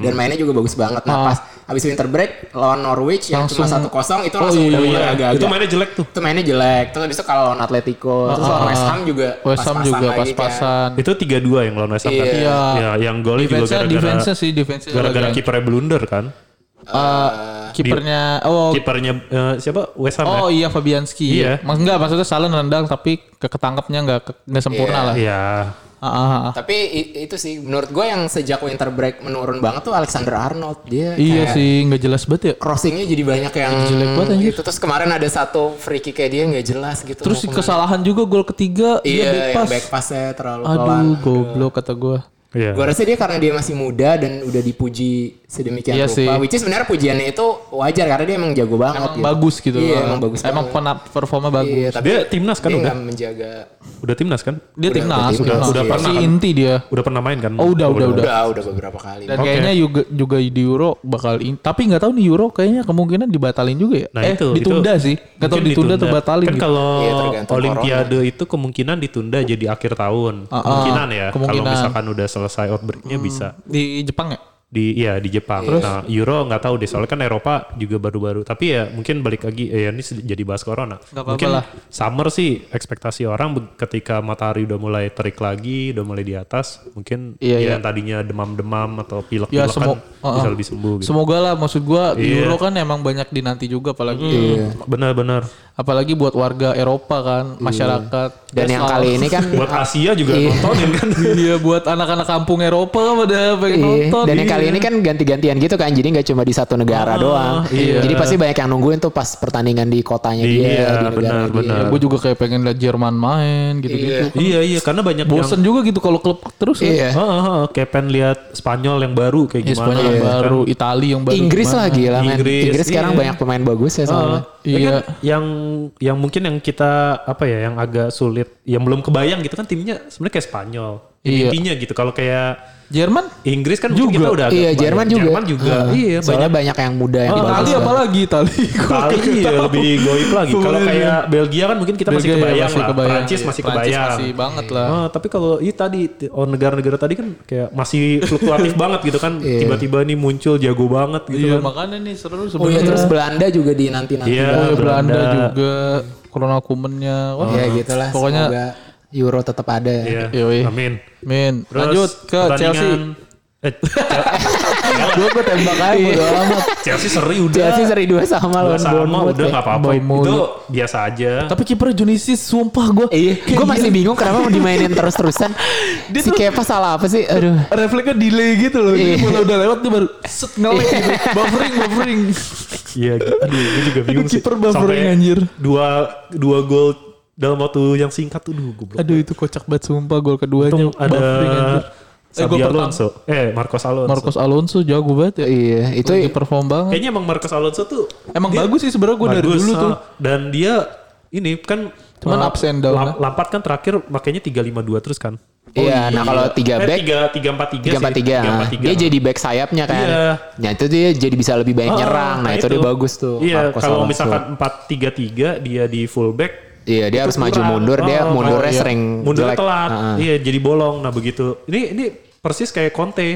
[SPEAKER 3] ya.
[SPEAKER 2] Dan mainnya juga bagus banget. Nah,
[SPEAKER 3] Ah.
[SPEAKER 2] pas abis winter break lawan Norwich yang cuma
[SPEAKER 3] Langsung-
[SPEAKER 2] 1-0 itu
[SPEAKER 3] Oh,
[SPEAKER 2] langsung
[SPEAKER 3] iya,
[SPEAKER 2] udah
[SPEAKER 1] Oh,
[SPEAKER 2] mulai
[SPEAKER 1] iya.
[SPEAKER 2] agak-agak.
[SPEAKER 1] Itu mainnya jelek tuh.
[SPEAKER 2] Itu mainnya jelek. Terus abis itu kalau lawan Atletico, terus lawan West Ham juga
[SPEAKER 3] Ah, West Ham
[SPEAKER 2] pas-pasan
[SPEAKER 3] juga
[SPEAKER 2] lagi kan.
[SPEAKER 3] pas-pasan.
[SPEAKER 1] Itu 3-2 yang lawan West Ham kan?
[SPEAKER 2] Iya.
[SPEAKER 3] Iya.
[SPEAKER 1] Ya, yang golnya
[SPEAKER 3] Defense-nya,
[SPEAKER 1] juga gara-gara
[SPEAKER 3] defense-nya sih, Oh, defense-nya.
[SPEAKER 1] gara-gara
[SPEAKER 3] juga.
[SPEAKER 1] kipernya blunder kan.
[SPEAKER 3] Eh, kipernya oh
[SPEAKER 1] Kipernya eh, siapa? West Ham
[SPEAKER 3] Oh iya
[SPEAKER 1] ya?
[SPEAKER 3] Fabianski.
[SPEAKER 1] Iya.
[SPEAKER 3] Mas enggak maksudnya salah nendang tapi ke- ketangkepnya enggak ke- enggak sempurna lah.
[SPEAKER 1] Iya.
[SPEAKER 3] Ah, ah, ah.
[SPEAKER 2] Tapi i- itu sih menurut gue yang sejak winter break menurun banget tuh Alexander Arnold dia
[SPEAKER 3] Iya
[SPEAKER 2] kayak
[SPEAKER 3] sih, nggak jelas banget ya.
[SPEAKER 2] crossingnya jadi banyak yang
[SPEAKER 3] Jelek banget, anjir.
[SPEAKER 2] itu terus kemarin ada satu free kick kayak dia nggak jelas gitu
[SPEAKER 3] Terus
[SPEAKER 2] mau kemana.
[SPEAKER 3] kesalahan juga gol ketiga
[SPEAKER 2] iya
[SPEAKER 3] dia back
[SPEAKER 2] yang
[SPEAKER 3] pass.
[SPEAKER 2] back passnya terlalu pelan
[SPEAKER 3] Aduh, goblok kata gue.
[SPEAKER 1] Iya.
[SPEAKER 2] gue rasa dia karena dia masih muda dan udah dipuji sedemikian
[SPEAKER 3] Iya
[SPEAKER 2] rupa
[SPEAKER 3] sih.
[SPEAKER 2] which is sebenarnya pujiannya itu wajar karena dia emang jago banget
[SPEAKER 3] Emang
[SPEAKER 2] gitu.
[SPEAKER 3] bagus gitu.
[SPEAKER 2] iya
[SPEAKER 3] loh.
[SPEAKER 2] emang bagus
[SPEAKER 3] Emang
[SPEAKER 2] banget.
[SPEAKER 3] pernah performa
[SPEAKER 2] iya,
[SPEAKER 3] bagus.
[SPEAKER 2] tapi
[SPEAKER 1] Dia timnas kan
[SPEAKER 2] dia
[SPEAKER 1] udah?
[SPEAKER 2] nggak menjaga
[SPEAKER 1] Udah timnas kan?
[SPEAKER 3] Dia timnas,
[SPEAKER 2] udah-
[SPEAKER 3] timnas.
[SPEAKER 1] udah
[SPEAKER 3] Masih
[SPEAKER 1] pernah kan?
[SPEAKER 3] inti dia.
[SPEAKER 1] Udah pernah main kan?
[SPEAKER 3] Oh, udah, udah,
[SPEAKER 2] udah udah, beberapa kali
[SPEAKER 3] Dan
[SPEAKER 1] Oke.
[SPEAKER 3] kayaknya juga juga di Euro bakal in, tapi nggak tahu nih Euro kayaknya kemungkinan dibatalin juga ya.
[SPEAKER 1] Nah
[SPEAKER 3] eh,
[SPEAKER 1] itu
[SPEAKER 3] ditunda
[SPEAKER 1] itu
[SPEAKER 3] sih. Nggak tahu
[SPEAKER 1] mungkin
[SPEAKER 3] ditunda atau batalin
[SPEAKER 1] Kan
[SPEAKER 3] gitu.
[SPEAKER 1] kalau
[SPEAKER 2] Iya, tergantung
[SPEAKER 1] Olimpiade itu kemungkinan ditunda jadi akhir tahun.
[SPEAKER 3] Ah, ah,
[SPEAKER 1] kemungkinan ya. Kalau
[SPEAKER 3] kemungkinan. Hmm.
[SPEAKER 1] misalkan udah selesai outbreaknya bisa.
[SPEAKER 3] Di Jepang ya?
[SPEAKER 1] di ya di Jepang. Nah, Euro nggak tahu deh soalnya kan Eropa juga baru-baru. Tapi ya mungkin balik lagi eh, ya ini se- jadi bahas corona.
[SPEAKER 3] apa-apa
[SPEAKER 1] mungkin
[SPEAKER 3] lah.
[SPEAKER 1] summer sih ekspektasi orang be- ketika matahari udah mulai terik lagi, udah mulai di atas, mungkin
[SPEAKER 3] Iya, iya.
[SPEAKER 1] ya yang tadinya demam-demam atau
[SPEAKER 3] Ya,
[SPEAKER 1] pilek-pilek
[SPEAKER 3] semo-
[SPEAKER 1] kan bisa
[SPEAKER 3] uh-uh.
[SPEAKER 1] lebih sembuh gitu.
[SPEAKER 3] Semoga lah maksud gua Euro kan emang banyak dinanti juga apalagi
[SPEAKER 1] Iya. Benar-benar.
[SPEAKER 3] apalagi buat warga Eropa kan, masyarakat.
[SPEAKER 2] Dan yang
[SPEAKER 3] Selalu-
[SPEAKER 2] kali ini kan
[SPEAKER 1] Buat Asia juga
[SPEAKER 2] Iya.
[SPEAKER 1] nontonin kan.
[SPEAKER 3] Iya buat anak-anak kampung Eropa kan pada pengen
[SPEAKER 2] Iya,
[SPEAKER 3] nonton. Ah,
[SPEAKER 2] dan yang kali ini kan ganti-gantian gitu kan, jadi nggak cuma di satu negara doang.
[SPEAKER 3] iya.
[SPEAKER 2] Jadi pasti banyak yang nungguin tuh pas pertandingan di kotanya
[SPEAKER 1] Iya,
[SPEAKER 2] dia, di negara dia.
[SPEAKER 1] benar-benar.
[SPEAKER 3] gue Ya, juga kayak pengen lihat Jerman main gitu-gitu.
[SPEAKER 1] iya iya karena banyak yang
[SPEAKER 3] Bosen juga gitu kalau klub terus kan.
[SPEAKER 2] Iya.
[SPEAKER 1] Heeh, heeh, kayak pengen lihat Spanyol yang baru kayak
[SPEAKER 3] Iya,
[SPEAKER 1] gimana.
[SPEAKER 3] Spanyol yang
[SPEAKER 1] gitu kan.
[SPEAKER 3] baru, Italia yang baru.
[SPEAKER 2] Inggris
[SPEAKER 3] gimana.
[SPEAKER 2] lah gila men.
[SPEAKER 1] Inggris,
[SPEAKER 2] Inggris, sekarang
[SPEAKER 1] iya.
[SPEAKER 2] banyak pemain bagus ya soalnya.
[SPEAKER 1] Ya
[SPEAKER 3] Iya.
[SPEAKER 1] kan, yang yang mungkin yang kita apa ya yang agak sulit yang belum kebayang gitu kan timnya sebenarnya kayak Spanyol.
[SPEAKER 3] Iya.
[SPEAKER 1] Intinya gitu kalau kayak
[SPEAKER 3] Jerman?
[SPEAKER 1] Inggris kan juga kita udah agak
[SPEAKER 2] iya
[SPEAKER 1] kebayang.
[SPEAKER 2] Jerman juga.
[SPEAKER 1] Jerman juga.
[SPEAKER 2] Heeh.
[SPEAKER 1] Iya banyak
[SPEAKER 2] soalnya banyak yang muda yang bagus.
[SPEAKER 3] Ah, Italia apalagi Italia. Gua
[SPEAKER 1] Kali
[SPEAKER 3] kagak
[SPEAKER 1] iya,
[SPEAKER 3] tahu.
[SPEAKER 1] lebih goib lagi. Kalau
[SPEAKER 3] Sebenarnya.
[SPEAKER 1] kayak Belgia kan mungkin kita masih
[SPEAKER 3] Belgia ya,
[SPEAKER 1] kebayang lah. Prancis
[SPEAKER 3] Iya,
[SPEAKER 1] masih
[SPEAKER 3] Prancis
[SPEAKER 1] kebayang.
[SPEAKER 3] masih banget lah.
[SPEAKER 1] Ah, tapi kalau iya tadi t- oh, negara-negara tadi kan kayak masih fluktuatif banget gitu kan. Tiba-tiba nih muncul jago banget gitu
[SPEAKER 3] Iya
[SPEAKER 1] kan.
[SPEAKER 3] makanya nih seru
[SPEAKER 2] Oh iya
[SPEAKER 3] sebenarnya.
[SPEAKER 2] terus Belanda juga di nanti-nanti.
[SPEAKER 1] Iya,
[SPEAKER 3] Oh iya, Belanda
[SPEAKER 1] Belanda.
[SPEAKER 3] juga Corona kumennya. Wah,
[SPEAKER 2] Ya gitulah.
[SPEAKER 3] Pokoknya
[SPEAKER 2] semoga Euro tetap ada. ya.
[SPEAKER 1] Iya.
[SPEAKER 3] Yoi.
[SPEAKER 1] Amin.
[SPEAKER 3] Min,
[SPEAKER 1] Terus
[SPEAKER 3] lanjut ke Chelsea.
[SPEAKER 1] pertandingan- Eh,
[SPEAKER 2] Gue gue tembak aja bodo amat.
[SPEAKER 1] Chelsea seri udah.
[SPEAKER 2] Iya. Chelsea seri dua sama
[SPEAKER 1] Udah
[SPEAKER 2] lawan
[SPEAKER 1] sama
[SPEAKER 2] Bournemouth.
[SPEAKER 1] udah
[SPEAKER 2] ya.
[SPEAKER 1] nggak apa-apa
[SPEAKER 3] eh, Bournemouth.
[SPEAKER 1] itu biasa aja.
[SPEAKER 3] Tapi kiper Junisis sumpah gue.
[SPEAKER 2] Iya, gue masih bingung kenapa mau dimainin terus-terusan. si Kepa salah apa sih? Aduh.
[SPEAKER 3] Refleksnya delay gitu loh. Jadi
[SPEAKER 2] Iya.
[SPEAKER 3] mulai udah lewat dia baru set ngelag gitu. buffering, buffering.
[SPEAKER 1] Iya, gitu. aduh, gue juga bingung sih.
[SPEAKER 3] kiper buffering, anjir.
[SPEAKER 1] Dua dua gol dalam waktu yang singkat tuh, duh, gue
[SPEAKER 3] Aduh itu kocak banget sumpah gol keduanya.
[SPEAKER 1] Untung ada
[SPEAKER 3] Buffering, anjir. Eh,
[SPEAKER 1] Sabi
[SPEAKER 3] gua pertama.
[SPEAKER 1] Alonso. Eh, Marcos Alonso.
[SPEAKER 3] Marcos Alonso jago banget ya.
[SPEAKER 2] Iya, itu
[SPEAKER 3] Lagi perform banget.
[SPEAKER 1] Kayaknya emang Marcos Alonso tuh
[SPEAKER 3] Emang
[SPEAKER 1] dia
[SPEAKER 3] bagus sih sebenarnya gue dari
[SPEAKER 1] bagus,
[SPEAKER 3] dulu tuh.
[SPEAKER 1] ah. Dan dia ini kan
[SPEAKER 3] Cuman
[SPEAKER 1] ah,
[SPEAKER 3] ups and down, ya. Oh,
[SPEAKER 1] Lam- Lampard kan terakhir makanya 352 terus kan.
[SPEAKER 2] iya, nah kalau tiga
[SPEAKER 1] eh,
[SPEAKER 2] back
[SPEAKER 1] 3 343
[SPEAKER 2] tiga empat tiga, dia jadi back sayapnya kan.
[SPEAKER 1] Iya.
[SPEAKER 2] Nah itu dia jadi bisa lebih banyak
[SPEAKER 1] Ah,
[SPEAKER 2] nyerang. Nah, itu, dia bagus tuh.
[SPEAKER 1] Iya,
[SPEAKER 2] Marcos
[SPEAKER 1] kalau
[SPEAKER 2] Alonso.
[SPEAKER 1] misalkan 433 dia di fullback
[SPEAKER 2] Iya, dia harus maju
[SPEAKER 1] kurang.
[SPEAKER 2] mundur, dia
[SPEAKER 1] Oh,
[SPEAKER 2] mundurnya
[SPEAKER 1] iya.
[SPEAKER 2] sering
[SPEAKER 1] mundurnya
[SPEAKER 2] jelek. Ah,
[SPEAKER 1] telat.
[SPEAKER 2] Heeh.
[SPEAKER 1] Iya, jadi bolong. Nah, begitu. Ini ini persis kayak Conte.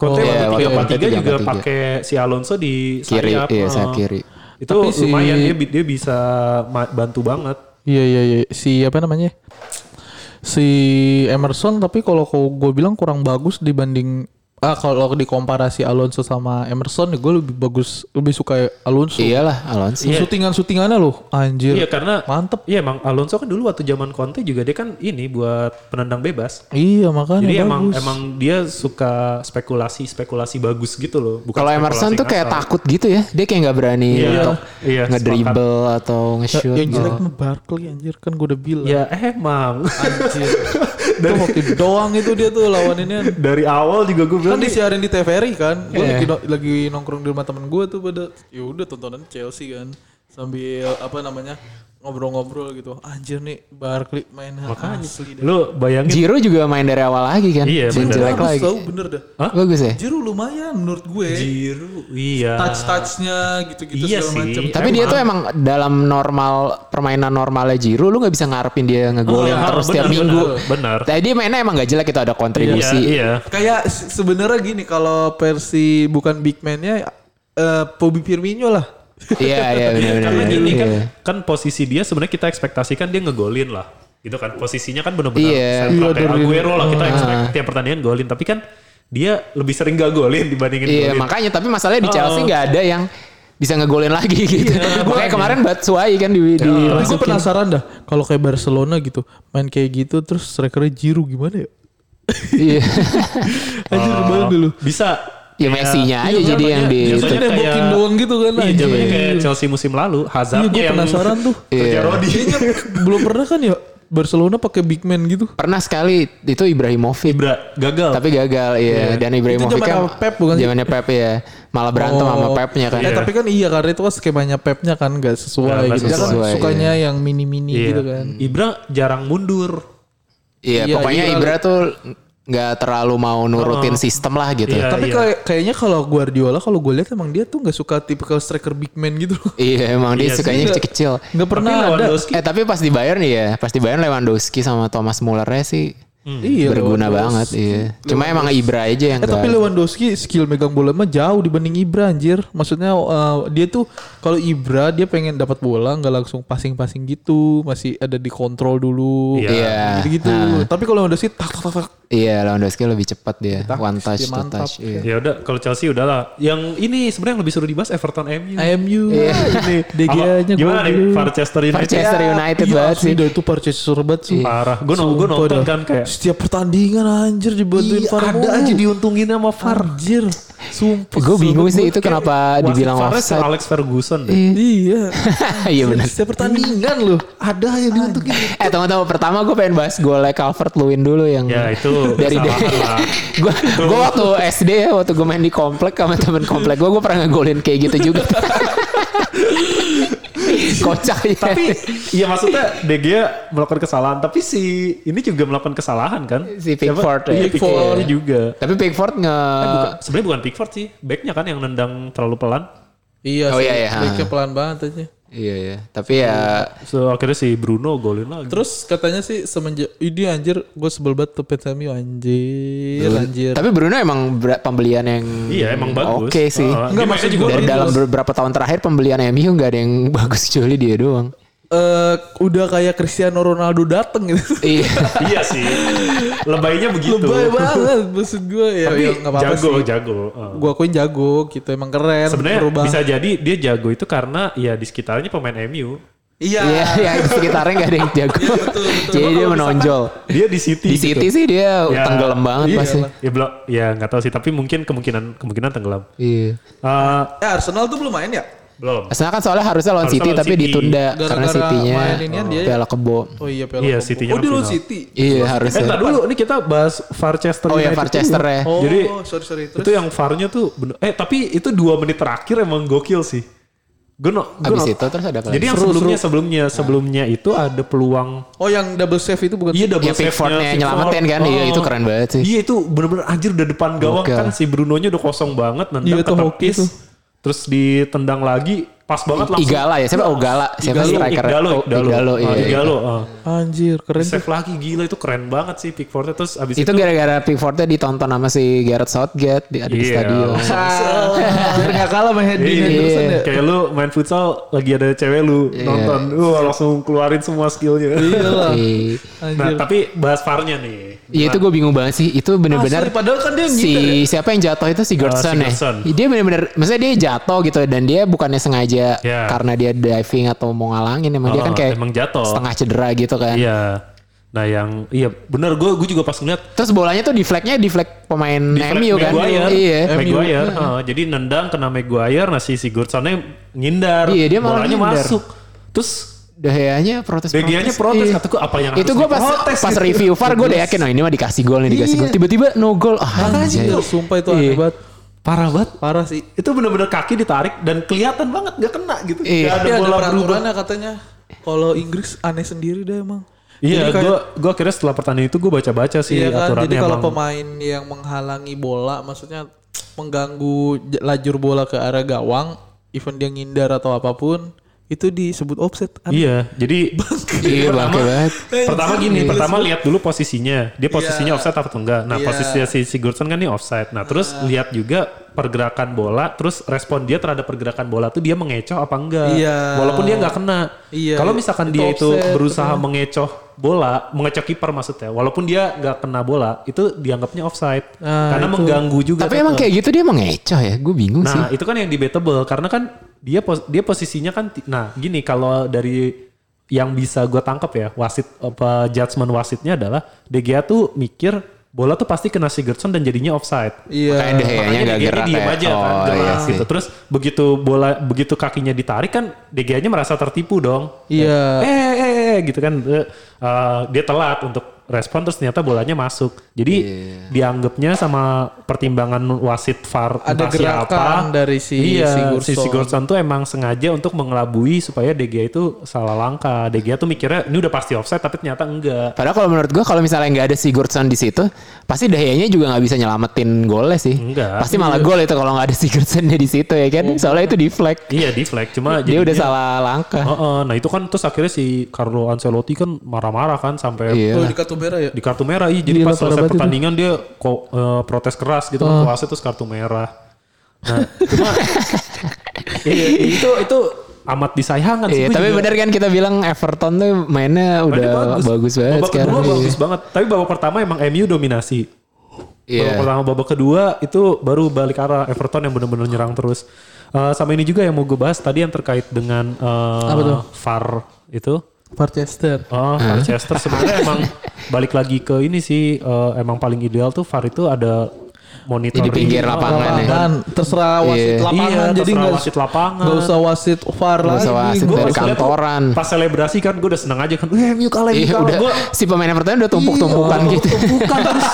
[SPEAKER 1] Conte
[SPEAKER 2] Oh, iya,
[SPEAKER 1] waktu
[SPEAKER 2] waktu Conte
[SPEAKER 1] 343 juga
[SPEAKER 2] 343.
[SPEAKER 1] pakai si Alonso di
[SPEAKER 2] Kiri,
[SPEAKER 1] sayap.
[SPEAKER 2] iya,
[SPEAKER 1] Heeh.
[SPEAKER 2] sayap kiri.
[SPEAKER 1] Itu
[SPEAKER 3] Tapi si-
[SPEAKER 1] lumayan dia bi- dia bisa ma- bantu banget.
[SPEAKER 3] Iya iya iya si apa namanya si Emerson tapi kalau gue bilang kurang bagus dibanding ah kalau dikomparasi Alonso sama Emerson gue lebih bagus lebih suka Alonso.
[SPEAKER 2] Iyalah Alonso.
[SPEAKER 3] Syutingan syutingannya loh anjir.
[SPEAKER 1] Iya, karena
[SPEAKER 3] mantep.
[SPEAKER 1] Iya, emang Alonso kan dulu waktu zaman Conte juga dia kan ini buat penendang bebas.
[SPEAKER 3] Iya makanya
[SPEAKER 1] Jadi emang
[SPEAKER 3] bagus.
[SPEAKER 1] emang dia suka spekulasi-spekulasi bagus gitu loh. Bukan
[SPEAKER 2] Kalau
[SPEAKER 1] spekulasi
[SPEAKER 2] Emerson tuh kayak
[SPEAKER 1] ngasal.
[SPEAKER 2] takut gitu ya. Dia kayak nggak berani
[SPEAKER 1] Iya,
[SPEAKER 2] untuk
[SPEAKER 1] iya,
[SPEAKER 2] ngedribble atau
[SPEAKER 3] Ya,
[SPEAKER 2] nge-shoot. gitu.
[SPEAKER 3] yang jelek mah Barkley anjir kan gue udah bilang.
[SPEAKER 1] Ya emang
[SPEAKER 3] Anjir. itu waktu doang itu dia tuh lawaninnya.
[SPEAKER 1] dari awal juga gue
[SPEAKER 3] Kan
[SPEAKER 1] bilang nih,
[SPEAKER 3] disiarin di TVRI kan. Gue lagi, no- lagi nongkrong di rumah temen gue tuh pada ya udah tontonan Chelsea kan. Sambil apa namanya? ngobrol-ngobrol gitu. Anjir nih Barkley main Makanya asli dah.
[SPEAKER 1] lu bayangin
[SPEAKER 2] Giro juga main dari awal lagi kan.
[SPEAKER 1] Iya,
[SPEAKER 2] Yang
[SPEAKER 1] bener. Iya,
[SPEAKER 2] jelek
[SPEAKER 3] Bagus
[SPEAKER 2] lagi.
[SPEAKER 3] tau bener dah.
[SPEAKER 2] Bagus ya.
[SPEAKER 3] Jiru lumayan menurut gue.
[SPEAKER 1] Jiru, iya.
[SPEAKER 3] Touch-touchnya gitu-gitu
[SPEAKER 1] Iya
[SPEAKER 3] segala
[SPEAKER 1] sih.
[SPEAKER 3] macam.
[SPEAKER 2] Tapi dia tuh emang dalam normal permainan normalnya Jiro lu nggak bisa ngarepin dia ngegolin
[SPEAKER 1] Oh, iya,
[SPEAKER 2] terus
[SPEAKER 1] benar,
[SPEAKER 2] tiap
[SPEAKER 1] benar,
[SPEAKER 2] minggu.
[SPEAKER 1] benar.
[SPEAKER 2] Tadi dia mainnya emang nggak jelek itu ada
[SPEAKER 1] iya,
[SPEAKER 2] kontribusi.
[SPEAKER 1] iya.
[SPEAKER 3] Kayak se- sebenarnya gini kalau versi bukan big man-nya eh Bobby Firmino lah.
[SPEAKER 2] Iya iya benar benar.
[SPEAKER 1] Karena gini kan,
[SPEAKER 2] Iya.
[SPEAKER 1] kan posisi dia sebenarnya kita ekspektasikan dia ngegolin lah. Gitu kan posisinya kan benar-benar
[SPEAKER 2] Iya. Ah.
[SPEAKER 1] sentral
[SPEAKER 3] Iya,
[SPEAKER 1] kayak
[SPEAKER 3] dari-
[SPEAKER 1] Aguero lah kita expect tiap pertandingan golin tapi kan dia lebih sering gak golin dibandingin
[SPEAKER 2] Iya
[SPEAKER 1] golin.
[SPEAKER 2] makanya tapi masalahnya
[SPEAKER 1] Oh.
[SPEAKER 2] di Chelsea nggak ada yang bisa ngegolin lagi gitu.
[SPEAKER 1] Iya,
[SPEAKER 2] Makanya kemarin Batsuai kan di, di
[SPEAKER 3] Tapi
[SPEAKER 1] Oh.
[SPEAKER 3] gue penasaran dah kalau kayak Barcelona gitu main kayak gitu terus strikernya Jiru gimana ya?
[SPEAKER 2] Iya.
[SPEAKER 3] Anjir
[SPEAKER 1] Ah.
[SPEAKER 3] banget dulu.
[SPEAKER 1] Bisa iya,
[SPEAKER 2] Ya Messi-nya aja jadi yang di
[SPEAKER 1] biasanya
[SPEAKER 3] Biasanya
[SPEAKER 1] kayak-
[SPEAKER 3] nembokin doang gitu kan
[SPEAKER 1] Iya,
[SPEAKER 3] anjir.
[SPEAKER 1] jamannya kayak Chelsea musim lalu,
[SPEAKER 3] Iya
[SPEAKER 1] Hazard
[SPEAKER 3] gue penasaran tuh.
[SPEAKER 1] Kerja
[SPEAKER 2] Iya.
[SPEAKER 1] Rodi.
[SPEAKER 3] Belum pernah kan ya Barcelona pakai big man gitu.
[SPEAKER 2] Pernah sekali itu Ibrahimovic.
[SPEAKER 1] Ibra gagal.
[SPEAKER 2] Tapi gagal iya dan Ibrahimovic
[SPEAKER 3] Itu zaman
[SPEAKER 2] kan
[SPEAKER 3] sama Pep bukan sih?
[SPEAKER 2] zamannya Pep ya. Malah berantem sama Pepnya kan.
[SPEAKER 3] Eh, tapi kan iya karena itu kan skemanya Pepnya kan gak
[SPEAKER 1] Nggak-
[SPEAKER 3] sesuai
[SPEAKER 1] nggak
[SPEAKER 3] gitu. Dia kan
[SPEAKER 2] sesuai,
[SPEAKER 3] sukanya yang mini-mini
[SPEAKER 1] Iya.
[SPEAKER 3] gitu kan.
[SPEAKER 2] Hmm.
[SPEAKER 1] Ibra jarang mundur.
[SPEAKER 2] Iya,
[SPEAKER 3] Iya, Oh.
[SPEAKER 2] pokoknya
[SPEAKER 3] Ibra-
[SPEAKER 2] Ibra tuh nggak terlalu mau nurutin sistem lah gitu.
[SPEAKER 1] Iya.
[SPEAKER 3] Tapi kayak- kayaknya kalau Guardiola kalau gue lihat emang dia tuh nggak suka tipikal striker big man gitu loh.
[SPEAKER 2] Iya, emang dia sukanya kecil-kecil.
[SPEAKER 3] Nggak pernah ada.
[SPEAKER 1] Lewandowski
[SPEAKER 2] iya. Eh tapi pas di Bayern ya, pas di Bayern Lewandowski sama Thomas Muller sih
[SPEAKER 3] Iya,
[SPEAKER 2] berguna banget iya. Cuma emang Ibra aja
[SPEAKER 3] Eh,
[SPEAKER 2] yang
[SPEAKER 3] tapi
[SPEAKER 2] nggak-
[SPEAKER 3] Lewandowski skill megang bola mah jauh dibanding Ibra anjir. Maksudnya eh, dia tuh kalau Ibra dia pengen dapat bola nggak langsung passing-passing gitu, masih ada dikontrol dulu.
[SPEAKER 2] Iya. Iya.
[SPEAKER 3] Gitu. Tapi kalau Lewandowski tak tak tak, tak.
[SPEAKER 2] Iya, Lewandowski lebih cepat dia.
[SPEAKER 3] Taktis,
[SPEAKER 2] One touch,
[SPEAKER 3] dia
[SPEAKER 2] two
[SPEAKER 3] mantap.
[SPEAKER 2] touch. Iya.
[SPEAKER 1] Ya udah kalau Chelsea udahlah. Yang ini sebenarnya yang lebih seru dibahas Everton MU.
[SPEAKER 3] IMU ini
[SPEAKER 1] Apa-
[SPEAKER 3] DGA-nya
[SPEAKER 1] gimana nih
[SPEAKER 3] gua Iya,
[SPEAKER 1] Manchester United? Iya.
[SPEAKER 2] Manchester United banget sih.
[SPEAKER 3] Udah itu Manchester banget sih.
[SPEAKER 1] Parah. Gue nonton, gua
[SPEAKER 3] Sumpah
[SPEAKER 1] nonton
[SPEAKER 3] dah.
[SPEAKER 1] kan kayak
[SPEAKER 3] setiap pertandingan anjir dibantuin VAR mulu.
[SPEAKER 1] diuntungin sama VAR.
[SPEAKER 2] Ah,
[SPEAKER 3] anjir. Sumpah.
[SPEAKER 2] Gue bingung sih
[SPEAKER 1] Gua
[SPEAKER 2] itu
[SPEAKER 1] kayak
[SPEAKER 2] kenapa
[SPEAKER 1] wasit
[SPEAKER 2] dibilang
[SPEAKER 1] VAR-nya
[SPEAKER 2] offside.
[SPEAKER 1] Alex Ferguson deh.
[SPEAKER 3] Iya.
[SPEAKER 2] Iya benar.
[SPEAKER 3] Setiap pertandingan loh ada aja diuntukin.
[SPEAKER 2] Eh teman-teman pertama gue pengen bahas golnya Calvert Lewin dulu yang
[SPEAKER 1] Ya itu
[SPEAKER 2] dari dia.
[SPEAKER 1] kesalahan lah.
[SPEAKER 2] Gue gue waktu SD ya waktu gue main di komplek sama temen komplek gue gue pernah ngegolin kayak gitu juga. Kocak ya.
[SPEAKER 1] Tapi iya maksudnya DG melakukan kesalahan, tapi si ini juga melakukan kesalahan kan?
[SPEAKER 2] Si Pickford
[SPEAKER 1] Siapa?
[SPEAKER 2] ya.
[SPEAKER 1] Iya, Pickford
[SPEAKER 2] Iya.
[SPEAKER 1] juga.
[SPEAKER 2] tapi Pickford nge
[SPEAKER 1] Bukan- Sebenarnya bukan Pickford sih, backnya kan yang nendang terlalu pelan.
[SPEAKER 3] Iya
[SPEAKER 2] Oh,
[SPEAKER 3] sih.
[SPEAKER 2] iya, iya.
[SPEAKER 3] backnya pelan banget aja.
[SPEAKER 2] Iya ya. Tapi ya
[SPEAKER 1] So, akhirnya si Bruno golin lagi.
[SPEAKER 3] Terus katanya sih semenjak ini anjir gue sebel banget tuh fans MU anjir anjir.
[SPEAKER 2] Tapi Bruno emang ber- pembelian yang
[SPEAKER 1] Iya, emang
[SPEAKER 3] Hmm,
[SPEAKER 1] bagus.
[SPEAKER 2] Oke sih.
[SPEAKER 1] Oh,
[SPEAKER 3] Enggak,
[SPEAKER 1] dia
[SPEAKER 3] maksud
[SPEAKER 1] mainnya
[SPEAKER 3] gua
[SPEAKER 2] Dari
[SPEAKER 3] Bagus.
[SPEAKER 2] dalam beberapa tahun terakhir pembelian MU nggak ada yang bagus kecuali dia doang.
[SPEAKER 3] Eh, udah kayak Cristiano Ronaldo dateng gitu.
[SPEAKER 2] Iya.
[SPEAKER 1] iya sih. Lebaynya begitu.
[SPEAKER 3] Lebay ya banget maksud gue ya.
[SPEAKER 1] Tapi
[SPEAKER 3] ya, nggak apa-apa
[SPEAKER 1] jago,
[SPEAKER 3] sih.
[SPEAKER 1] jago. Uh.
[SPEAKER 3] Gue akuin jago gitu emang keren.
[SPEAKER 1] Sebenarnya
[SPEAKER 3] berubah.
[SPEAKER 1] bisa jadi dia jago itu karena ya di sekitarnya pemain MU.
[SPEAKER 3] Iya.
[SPEAKER 2] Iya, yang di sekitarnya nggak ada yang jago. Jadi dia menonjol.
[SPEAKER 1] Dia di City.
[SPEAKER 2] Di
[SPEAKER 1] gitu.
[SPEAKER 2] City sih dia
[SPEAKER 1] Ya.
[SPEAKER 2] tenggelam banget pasti.
[SPEAKER 1] Ya belum, ya nggak tahu sih. Tapi mungkin kemungkinan kemungkinan tenggelam.
[SPEAKER 2] Iya.
[SPEAKER 1] Eh,
[SPEAKER 3] Eh, Arsenal tuh belum main ya?
[SPEAKER 1] belum.
[SPEAKER 2] Asalnya kan soalnya harusnya lawan
[SPEAKER 1] Harusnya
[SPEAKER 2] City
[SPEAKER 1] lawan
[SPEAKER 2] tapi
[SPEAKER 1] City.
[SPEAKER 2] ditunda
[SPEAKER 3] Gara-gara
[SPEAKER 2] karena City-nya
[SPEAKER 3] maininnya dia-
[SPEAKER 2] piala kebo.
[SPEAKER 3] Oh iya, Piala
[SPEAKER 1] Iya,
[SPEAKER 3] Kompo.
[SPEAKER 1] City-nya
[SPEAKER 3] Oh, di
[SPEAKER 1] final.
[SPEAKER 3] Lon City.
[SPEAKER 2] Iya
[SPEAKER 1] Eh,
[SPEAKER 2] harusnya.
[SPEAKER 1] ntar dulu. Ini kita bahas Farchester.
[SPEAKER 2] Oh ya
[SPEAKER 1] United
[SPEAKER 2] Farchester
[SPEAKER 1] dulu.
[SPEAKER 2] ya.
[SPEAKER 3] Oh,
[SPEAKER 1] Jadi,
[SPEAKER 3] sorry sorry terus.
[SPEAKER 1] Itu yang VAR-nya tuh bener. Eh, tapi itu dua menit terakhir emang gokil sih. Gue no, gua
[SPEAKER 2] Abis
[SPEAKER 1] no-
[SPEAKER 2] itu terus ada
[SPEAKER 1] Jadi yang sebelumnya sebelumnya
[SPEAKER 3] Nah.
[SPEAKER 1] sebelumnya itu ada peluang
[SPEAKER 3] Oh yang double save itu bukan?
[SPEAKER 1] Iya double
[SPEAKER 2] Ya, Pickford-nya
[SPEAKER 1] save-nya,
[SPEAKER 2] nyelamatin kan,
[SPEAKER 3] Oh.
[SPEAKER 2] iya, itu keren banget sih.
[SPEAKER 1] Iya itu bener-bener anjir udah depan gawang
[SPEAKER 2] Gokil.
[SPEAKER 1] kan si Brunonya udah kosong banget nendang
[SPEAKER 3] Iya,
[SPEAKER 1] ke
[SPEAKER 3] itu hoki
[SPEAKER 1] tepis.
[SPEAKER 3] tuh.
[SPEAKER 1] Terus ditendang lagi pas banget langsung.
[SPEAKER 2] Igala ya, siapa Ogala? Siapa
[SPEAKER 1] Igalo,
[SPEAKER 2] striker?
[SPEAKER 1] Igalo,
[SPEAKER 2] Oh,
[SPEAKER 1] Igalo. Ah,
[SPEAKER 2] Igalo, iya, iya.
[SPEAKER 1] Igalo, ah.
[SPEAKER 3] Anjir keren. tuh.
[SPEAKER 1] Save lagi gila itu keren banget sih Pickfordnya terus abis
[SPEAKER 2] Itu
[SPEAKER 1] itu,
[SPEAKER 2] gara-gara Pickfordnya ditonton sama si Gareth Southgate di ada di
[SPEAKER 1] Iya.
[SPEAKER 2] stadion.
[SPEAKER 3] Ah, Biar nggak kalah sama Hendy
[SPEAKER 1] Iya.
[SPEAKER 3] Henderson ya.
[SPEAKER 1] kayak lu main futsal lagi ada cewek lu nonton, wah langsung keluarin semua skillnya.
[SPEAKER 3] Iya lah.
[SPEAKER 2] Iya.
[SPEAKER 1] nah
[SPEAKER 3] Anjir.
[SPEAKER 1] tapi bahas farnya nih.
[SPEAKER 2] Iya itu gue bingung banget sih. Itu bener-bener
[SPEAKER 3] Asli, padahal kan dia ngiter
[SPEAKER 2] si siapa yang jatuh
[SPEAKER 1] Eh,
[SPEAKER 2] itu si Gerson ya.
[SPEAKER 1] Sigurdsson.
[SPEAKER 2] Dia bener-bener, maksudnya dia jatuh gitu dan dia bukannya sengaja
[SPEAKER 1] Ya.
[SPEAKER 2] karena dia diving atau mau ngalangin emang dia
[SPEAKER 1] Oh,
[SPEAKER 2] kan kayak
[SPEAKER 1] emang jatuh.
[SPEAKER 2] setengah cedera gitu kan.
[SPEAKER 1] Iya. Nah yang iya benar gue gue juga pas ngeliat
[SPEAKER 2] Terus bolanya tuh deflect-nya deflect pemain
[SPEAKER 1] Flag
[SPEAKER 2] MU kan.
[SPEAKER 1] Maguire.
[SPEAKER 2] Iya.
[SPEAKER 1] Maguire. Heeh, jadi nendang kena Maguire, nah si Sigurdssonnya ngindar.
[SPEAKER 2] Iya, dia malah
[SPEAKER 1] Bolanya
[SPEAKER 2] ngindar.
[SPEAKER 1] masuk. Terus
[SPEAKER 2] Dehanya ya, protes.
[SPEAKER 1] De Gea-nya protes,
[SPEAKER 2] Iya.
[SPEAKER 1] kataku apa yang
[SPEAKER 2] itu
[SPEAKER 1] harus
[SPEAKER 2] gue pas
[SPEAKER 1] diprotes
[SPEAKER 2] pas
[SPEAKER 1] gitu.
[SPEAKER 2] review VAR gue udah yakin oh ini mah dikasih gol nih dikasih
[SPEAKER 1] Iya.
[SPEAKER 2] gol tiba-tiba no goal ah, anjay.
[SPEAKER 3] Anjir, sumpah itu aneh banget.
[SPEAKER 1] Parah banget.
[SPEAKER 3] Parah sih.
[SPEAKER 1] Itu bener-bener kaki ditarik dan kelihatan banget gak kena gitu.
[SPEAKER 2] Iya.
[SPEAKER 1] Nggak
[SPEAKER 3] Tapi
[SPEAKER 1] ada
[SPEAKER 3] ada
[SPEAKER 1] bola berubah.
[SPEAKER 3] peraturannya katanya. Kalau Inggris aneh sendiri dah emang. Jadi
[SPEAKER 1] Iya,
[SPEAKER 3] kayak-
[SPEAKER 1] gue gue akhirnya setelah pertandingan itu gue baca-baca sih
[SPEAKER 3] Iya kan,
[SPEAKER 1] aturannya
[SPEAKER 3] jadi kalau
[SPEAKER 1] emang.
[SPEAKER 3] pemain yang menghalangi bola, maksudnya mengganggu j- lajur bola ke arah gawang, even dia ngindar atau apapun, itu disebut offset. Aneh.
[SPEAKER 1] Iya, jadi
[SPEAKER 2] iya bangke banget
[SPEAKER 1] pertama gini, pertama lihat dulu posisinya. Dia posisinya offside apa enggak. Nah,
[SPEAKER 3] Iya.
[SPEAKER 1] posisinya si Sigurdsson kan nih offside. Nah, terus lihat juga pergerakan bola, terus respon dia terhadap pergerakan bola tuh dia mengecoh apa enggak.
[SPEAKER 3] Iya.
[SPEAKER 1] Walaupun dia nggak kena.
[SPEAKER 3] Iya.
[SPEAKER 1] Kalau misalkan
[SPEAKER 3] Itu
[SPEAKER 1] dia itu
[SPEAKER 3] offside,
[SPEAKER 1] berusaha mengecoh bola, mengecoh kiper maksudnya. Walaupun dia nggak kena bola, itu dianggapnya offside.
[SPEAKER 3] Nah,
[SPEAKER 1] Karena mengganggu juga.
[SPEAKER 2] tapi emang
[SPEAKER 1] tetap.
[SPEAKER 2] kayak gitu dia emang ngecoh ya gue bingung sih
[SPEAKER 1] Nah, itu kan yang debatable karena kan dia pos- dia posisinya kan ti- nah gini kalau dari yang bisa gue tangkap ya wasit apa judgement wasitnya adalah De Gea tuh mikir bola tuh pasti kena Sigurdsson dan jadinya offside.
[SPEAKER 3] Iya.
[SPEAKER 2] Makanya Deheyanya
[SPEAKER 1] Makanya
[SPEAKER 2] nggak
[SPEAKER 1] De Gea-nya
[SPEAKER 2] gerak
[SPEAKER 1] diem
[SPEAKER 2] ya.
[SPEAKER 1] aja kan,
[SPEAKER 2] oh
[SPEAKER 1] gerak
[SPEAKER 2] iya sih.
[SPEAKER 1] gitu. Terus begitu bola begitu kakinya ditarik kan De Gea-nya merasa tertipu dong.
[SPEAKER 3] Iya.
[SPEAKER 1] Eh, eh, eh, eh, gitu kan Eh,
[SPEAKER 3] Iya.
[SPEAKER 1] eh, dia telat untuk respon terus ternyata bolanya masuk. Jadi dianggapnya sama pertimbangan wasit VAR
[SPEAKER 3] Ada
[SPEAKER 1] entah siapa.
[SPEAKER 3] gerakan dari si
[SPEAKER 1] iya,
[SPEAKER 3] Sigurdsson.
[SPEAKER 1] si Sigurdsson tuh emang sengaja untuk mengelabui supaya DG itu salah langkah. DG tuh mikirnya ini udah pasti offside tapi ternyata enggak.
[SPEAKER 2] Padahal kalau menurut gua kalau misalnya nggak ada Sigurdsson di situ, pasti Dahiyanya juga nggak bisa nyelamatin golnya sih.
[SPEAKER 1] Enggak.
[SPEAKER 2] Pasti malah gol itu kalau nggak ada Sigurdsson di situ ya kan.
[SPEAKER 1] Oh,
[SPEAKER 2] Soalnya itu deflect.
[SPEAKER 1] Iya deflect cuma
[SPEAKER 2] Dia udah
[SPEAKER 1] jadinya-
[SPEAKER 2] salah langkah.
[SPEAKER 1] Heeh, nah itu kan terus akhirnya si Carlo Ancelotti kan marah-marah kan sampai
[SPEAKER 2] Iya.
[SPEAKER 3] Kalau di Katubera ya.
[SPEAKER 1] di kartu merah iya jadi pas
[SPEAKER 2] Gila, parah
[SPEAKER 1] selesai
[SPEAKER 2] banget itu.
[SPEAKER 1] pertandingan dia ko- eh, protes keras gitu kan
[SPEAKER 2] Ah.
[SPEAKER 1] ke wasit terus kartu merah nah cuma iya, itu itu amat disayangkan sih
[SPEAKER 2] Iya,
[SPEAKER 1] gua
[SPEAKER 2] tapi
[SPEAKER 1] juga.
[SPEAKER 2] bener kan kita bilang Everton tuh mainnya
[SPEAKER 1] Mainnya
[SPEAKER 2] udah bagus, banget
[SPEAKER 1] babak
[SPEAKER 2] sekarang.
[SPEAKER 1] kedua
[SPEAKER 2] Iya.
[SPEAKER 1] bagus banget tapi babak pertama emang MU dominasi
[SPEAKER 2] Iya.
[SPEAKER 1] babak pertama babak kedua itu baru balik arah Everton yang bener-bener nyerang terus Eh, sama ini juga yang mau gue bahas tadi yang terkait dengan eh, VAR itu
[SPEAKER 3] Manchester.
[SPEAKER 1] Oh, Manchester sebenarnya emang balik lagi ke ini sih eh, emang paling ideal tuh VAR itu ada Oh, monitoring
[SPEAKER 2] Di pinggir lapangan ya.
[SPEAKER 1] Dan
[SPEAKER 3] Lapangan, terserah wasit
[SPEAKER 2] Iya.
[SPEAKER 3] lapangan
[SPEAKER 1] Iya,
[SPEAKER 3] jadi
[SPEAKER 1] terserah
[SPEAKER 3] nggak
[SPEAKER 1] wasit lapangan.
[SPEAKER 3] nggak usah wasit VAR
[SPEAKER 2] Nggak
[SPEAKER 3] lagi.
[SPEAKER 2] usah wasit
[SPEAKER 3] Gua-
[SPEAKER 2] dari kantoran.
[SPEAKER 1] pas selebrasi kan gue udah seneng aja kan, eh MU kalah, MU
[SPEAKER 2] ya. Iya,
[SPEAKER 1] kalah.
[SPEAKER 2] udah
[SPEAKER 1] Gua,
[SPEAKER 2] si pemain Everton udah tumpuk-tumpukan gitu.
[SPEAKER 1] bukan terus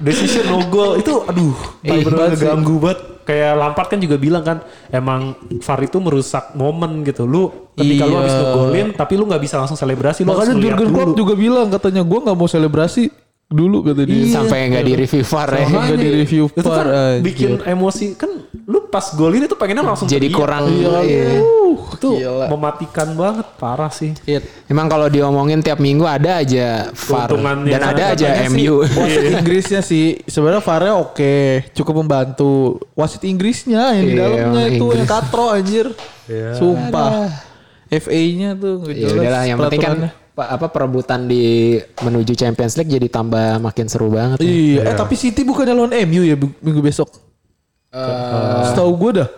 [SPEAKER 1] decision no goal itu aduh bener-bener ngeganggu banget kayak Lampard kan juga bilang kan emang VAR itu merusak momen gitu lu ketika lu
[SPEAKER 3] Iya.
[SPEAKER 1] habis ngegolin tapi lu nggak bisa langsung selebrasi lu harus
[SPEAKER 3] Makanya
[SPEAKER 1] ngeliat
[SPEAKER 3] Jurgen Klopp
[SPEAKER 1] dulu.
[SPEAKER 3] juga bilang katanya gue nggak mau selebrasi dulu kata dia.
[SPEAKER 2] Iya. Sampai nggak di review VAR ya.
[SPEAKER 3] Sama. Nggak di-review
[SPEAKER 1] itu
[SPEAKER 3] par,
[SPEAKER 1] kan
[SPEAKER 3] eh, anjir.
[SPEAKER 1] bikin emosi kan lu pas golin itu pengennya langsung
[SPEAKER 2] Jadi
[SPEAKER 1] teriak.
[SPEAKER 2] kurang iya.
[SPEAKER 1] Uh, itu
[SPEAKER 3] Gila.
[SPEAKER 1] mematikan banget parah sih
[SPEAKER 3] Iya.
[SPEAKER 2] Emang kalau diomongin tiap minggu ada aja VAR
[SPEAKER 1] Keuntungannya
[SPEAKER 2] dan ada aja Iya,
[SPEAKER 1] katanya sih,
[SPEAKER 2] MU.
[SPEAKER 3] Wasit Inggrisnya sih sebenarnya VAR-nya oke, cukup membantu. Wasit Inggrisnya yang di
[SPEAKER 2] Iya,
[SPEAKER 3] dalamnya
[SPEAKER 2] emang
[SPEAKER 3] itu yang
[SPEAKER 2] Inggris.
[SPEAKER 3] katro anjir. Iya. Sumpah. FA-nya tuh nggak
[SPEAKER 2] Ya
[SPEAKER 3] jelas
[SPEAKER 2] udahlah yang penting kan
[SPEAKER 3] peraturannya.
[SPEAKER 2] pa- apa perebutan di menuju Champions League jadi tambah makin seru banget. ya.
[SPEAKER 3] Iya, eh tapi City bukannya lawan MU ya bu- minggu besok.
[SPEAKER 2] Eh.
[SPEAKER 3] Setahu gue dah.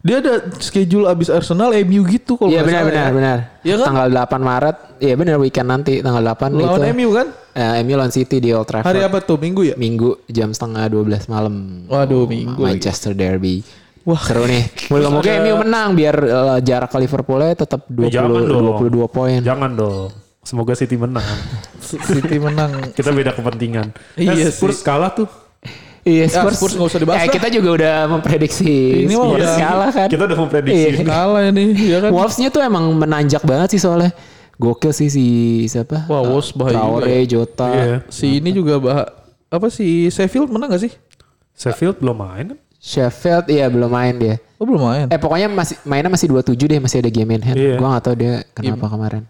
[SPEAKER 3] Dia ada schedule abis Arsenal MU gitu kalau
[SPEAKER 2] Iya
[SPEAKER 3] nggak salah
[SPEAKER 2] benar benar
[SPEAKER 3] ya.
[SPEAKER 2] benar.
[SPEAKER 3] Iya kan?
[SPEAKER 2] Tanggal 8 Maret. Iya benar weekend nanti tanggal
[SPEAKER 3] Lawan
[SPEAKER 2] 8 itu.
[SPEAKER 3] MU kan?
[SPEAKER 2] Eh, MU lawan City di Old Trafford.
[SPEAKER 3] Hari apa tuh? Minggu ya?
[SPEAKER 2] Minggu jam setengah 12 malam.
[SPEAKER 3] Waduh, minggu. ya. lagi.
[SPEAKER 2] Manchester Derby.
[SPEAKER 3] Wah.
[SPEAKER 2] Seru nih. Moga-moga MU menang biar eh, jarak ke Liverpoolnya tetap
[SPEAKER 3] Eh,
[SPEAKER 2] 20
[SPEAKER 1] Ya, jangan dong.
[SPEAKER 2] 22 poin.
[SPEAKER 1] jangan dong semoga City menang
[SPEAKER 3] City menang.
[SPEAKER 1] kita beda kepentingan
[SPEAKER 3] Iya
[SPEAKER 1] Eh, Spurs kalah tuh
[SPEAKER 2] Iya,
[SPEAKER 3] Ya, Spurs nggak usah dibahas
[SPEAKER 2] Eh,
[SPEAKER 3] lah.
[SPEAKER 2] kita juga udah memprediksi
[SPEAKER 3] Ini mah
[SPEAKER 2] Spurs
[SPEAKER 3] udah-
[SPEAKER 2] kalah kan.
[SPEAKER 1] kita udah memprediksi
[SPEAKER 2] Iya.
[SPEAKER 3] Kalah ini, ya kan?
[SPEAKER 2] Wolves-nya tuh emang menanjak banget sih soalnya. Gokil sih si siapa? Eh,
[SPEAKER 3] Wah, Wolves bahaya juga ya.
[SPEAKER 2] Traore, Jota.
[SPEAKER 3] Ah.
[SPEAKER 1] Iya.
[SPEAKER 3] Si ini juga bah apa sih Sheffield menang gak sih?
[SPEAKER 1] Sheffield belum main kan?
[SPEAKER 2] Sheffield iya belum main dia.
[SPEAKER 3] Oh belum main.
[SPEAKER 2] Eh pokoknya masih mainnya masih 27 deh, masih ada game in hand.
[SPEAKER 1] Iya.
[SPEAKER 2] Gua gak tahu dia kenapa kemarin.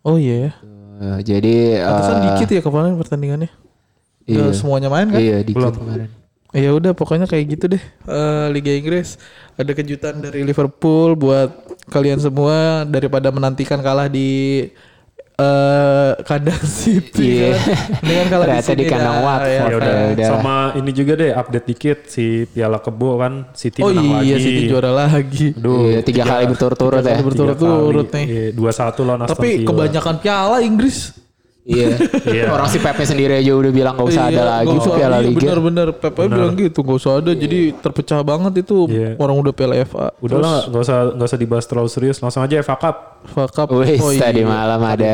[SPEAKER 3] Oh iya ya.
[SPEAKER 2] Eh, jadi
[SPEAKER 3] Pantesan
[SPEAKER 2] eh,
[SPEAKER 3] dikit ya kemarin pertandingannya.
[SPEAKER 2] iya.
[SPEAKER 3] Udah semuanya main kan?
[SPEAKER 2] Iya, dikit
[SPEAKER 1] Belum.
[SPEAKER 2] kemarin.
[SPEAKER 3] Ya udah pokoknya kayak gitu deh eh, Liga Inggris. Ada kejutan dari Liverpool buat kalian semua daripada menantikan kalah di eh kandang City
[SPEAKER 2] Iya.
[SPEAKER 3] kan. Dengan kalah di
[SPEAKER 2] Ternyata
[SPEAKER 3] sini
[SPEAKER 2] di kandang
[SPEAKER 3] dah.
[SPEAKER 2] Watford.
[SPEAKER 3] Ya,
[SPEAKER 1] ya udah
[SPEAKER 2] Ya udah.
[SPEAKER 1] sama ini juga deh update dikit si Piala Kebo kan City
[SPEAKER 3] Oh
[SPEAKER 1] menang
[SPEAKER 3] iya
[SPEAKER 1] lagi
[SPEAKER 3] City juara lagi.
[SPEAKER 1] Aduh,
[SPEAKER 2] Iya, tiga kali berturut-turut ya.
[SPEAKER 3] Berturut-turut nih.
[SPEAKER 1] Iya, dua satu lawan Aston
[SPEAKER 3] Tapi
[SPEAKER 1] Villa.
[SPEAKER 3] kebanyakan piala Inggris.
[SPEAKER 2] Iya.
[SPEAKER 1] Iya.
[SPEAKER 2] Orang si Pepe sendiri aja udah bilang gak usah ada lagi
[SPEAKER 3] nggak
[SPEAKER 2] tuh
[SPEAKER 3] usah
[SPEAKER 2] Piala
[SPEAKER 3] ada.
[SPEAKER 2] Liga.
[SPEAKER 3] Iya, Bener-bener Pepe bilang gitu nggak usah ada. Jadi terpecah banget itu
[SPEAKER 1] Iya.
[SPEAKER 3] orang udah Piala FA.
[SPEAKER 1] Udah lah, nggak usah nggak usah dibahas terlalu serius. Langsung aja FA Cup.
[SPEAKER 3] fuck up.
[SPEAKER 2] Wih,
[SPEAKER 3] Oh,
[SPEAKER 2] tadi
[SPEAKER 3] iya.
[SPEAKER 2] malam ada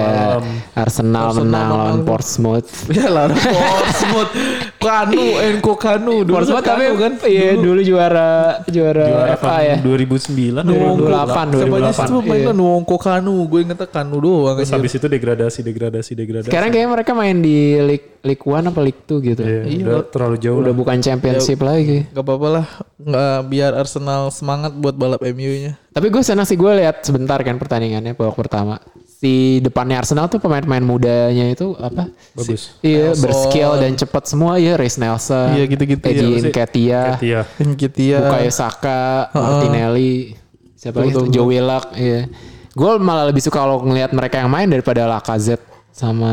[SPEAKER 2] Arsenal, menang lawan
[SPEAKER 3] menang.
[SPEAKER 2] Portsmouth.
[SPEAKER 3] Ya lah, Portsmouth, Kanu, Enko Kanu, dulu
[SPEAKER 2] Portsmouth
[SPEAKER 3] kan
[SPEAKER 2] tapi
[SPEAKER 3] Kanu kan,
[SPEAKER 2] iya dulu juara juara,
[SPEAKER 1] Juara kan
[SPEAKER 2] FA
[SPEAKER 1] tahun
[SPEAKER 2] ya.
[SPEAKER 1] 2009,
[SPEAKER 2] Nunggu.
[SPEAKER 1] 2008.
[SPEAKER 2] 2008,
[SPEAKER 3] Siapa aja sih
[SPEAKER 1] 2008.
[SPEAKER 3] tuh pemain kan Wongko Kanu, gue ingetnya Kanu doang.
[SPEAKER 1] Terus
[SPEAKER 3] anjir.
[SPEAKER 1] habis itu degradasi, degradasi, degradasi.
[SPEAKER 2] Sekarang kayaknya mereka main di League League One apa League Two gitu.
[SPEAKER 1] Iya, udah terlalu jauh.
[SPEAKER 2] Udah
[SPEAKER 1] Udah
[SPEAKER 2] bukan Championship lagi.
[SPEAKER 3] Gak apa-apa lah, nggak biar Arsenal semangat buat balap MU-nya.
[SPEAKER 2] Tapi gue senang sih gue lihat sebentar kan pertandingannya babak pertama. Si depannya Arsenal tuh pemain-pemain mudanya itu apa?
[SPEAKER 1] Bagus.
[SPEAKER 2] Iya,
[SPEAKER 3] Nelson.
[SPEAKER 2] berskill dan cepat semua ya. Reis Nelson,
[SPEAKER 3] Iya, gitu-gitu.
[SPEAKER 2] Eddie
[SPEAKER 3] Iya,
[SPEAKER 1] sih.
[SPEAKER 2] Nketiah,
[SPEAKER 1] Iya.
[SPEAKER 3] Nketiah,
[SPEAKER 2] Bukayo Saka, Martinelli, siapa lagi tuh? Joe Willock, iya. Gue malah lebih suka kalau ngelihat mereka yang main daripada Lacazette sama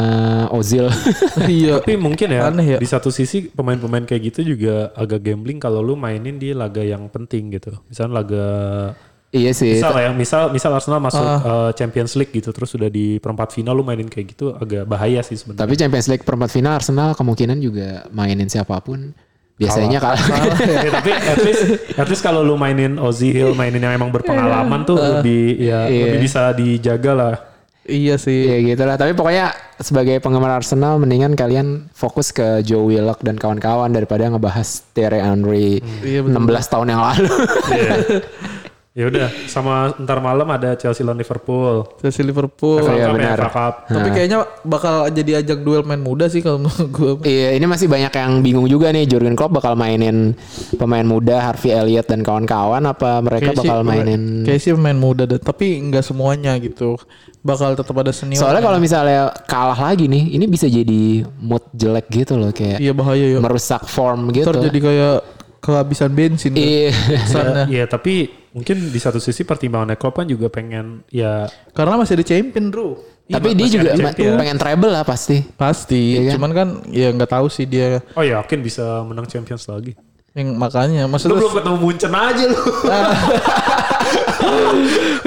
[SPEAKER 2] Ozil.
[SPEAKER 3] iya,
[SPEAKER 1] Tapi mungkin ya,
[SPEAKER 3] Aneh ya.
[SPEAKER 1] di satu sisi pemain-pemain kayak gitu juga agak gambling kalau lu mainin di laga yang penting gitu. Misalnya laga
[SPEAKER 2] iya Ah. sih.
[SPEAKER 1] misal ya, misal misal Arsenal masuk eh, Champions League gitu terus udah di perempat final lu mainin kayak gitu agak bahaya sih sebenarnya.
[SPEAKER 2] Tapi Champions League perempat final Arsenal kemungkinan juga mainin siapapun biasanya kalah.
[SPEAKER 1] Eh, tapi at least at least kalau lu
[SPEAKER 2] Iya. Ah.
[SPEAKER 1] mainin Ozil, mainin yang emang berpengalaman tuh lebih ya lebih bisa dijaga lah.
[SPEAKER 3] Iya
[SPEAKER 2] Ya
[SPEAKER 3] sih.
[SPEAKER 2] gitu lah. Tapi pokoknya sebagai penggemar Arsenal mendingan kalian fokus ke Joe Willock dan kawan-kawan daripada ngebahas Thierry Henry
[SPEAKER 3] Iya,
[SPEAKER 2] 16 tahun yang lalu.
[SPEAKER 1] Ya udah, sama ntar malam ada Chelsea lawan Liverpool.
[SPEAKER 3] Chelsea Liverpool.
[SPEAKER 2] Iya,
[SPEAKER 1] Cup ya,
[SPEAKER 2] benar.
[SPEAKER 1] FA Cup.
[SPEAKER 3] Tapi kayaknya bakal jadi ajak duel main muda sih kalau menurut gue.
[SPEAKER 2] Iya, ini masih banyak yang bingung juga nih. Jurgen Klopp bakal mainin pemain muda Harvey Elliott dan kawan-kawan apa
[SPEAKER 3] Kayaknya
[SPEAKER 2] mereka
[SPEAKER 3] sih-
[SPEAKER 2] bakal mainin
[SPEAKER 3] Kayaknya sih pemain muda dan tapi nggak semuanya gitu. Bakal tetap ada senior.
[SPEAKER 2] Soalnya kalau misalnya kalah lagi nih, ini bisa jadi mood jelek gitu loh kayak
[SPEAKER 3] iya bahaya ya.
[SPEAKER 2] merusak form gitu.
[SPEAKER 3] Ntar jadi kayak kehabisan bensin.
[SPEAKER 2] Iya.
[SPEAKER 3] Kesannya.
[SPEAKER 1] Iya, tapi mungkin di satu sisi pertimbangan Klopp kan juga pengen ya
[SPEAKER 3] Karena masih ada champion, Bro.
[SPEAKER 2] Tapi dia juga ma- pengen treble lah pasti.
[SPEAKER 3] Pasti,
[SPEAKER 2] Iya kan?
[SPEAKER 3] cuman kan ya nggak tahu sih dia
[SPEAKER 1] oh ya yakin bisa menang Champions lagi.
[SPEAKER 3] yang makanya
[SPEAKER 1] Lu
[SPEAKER 3] maksudnya
[SPEAKER 1] belum ketemu Munchen aja lu.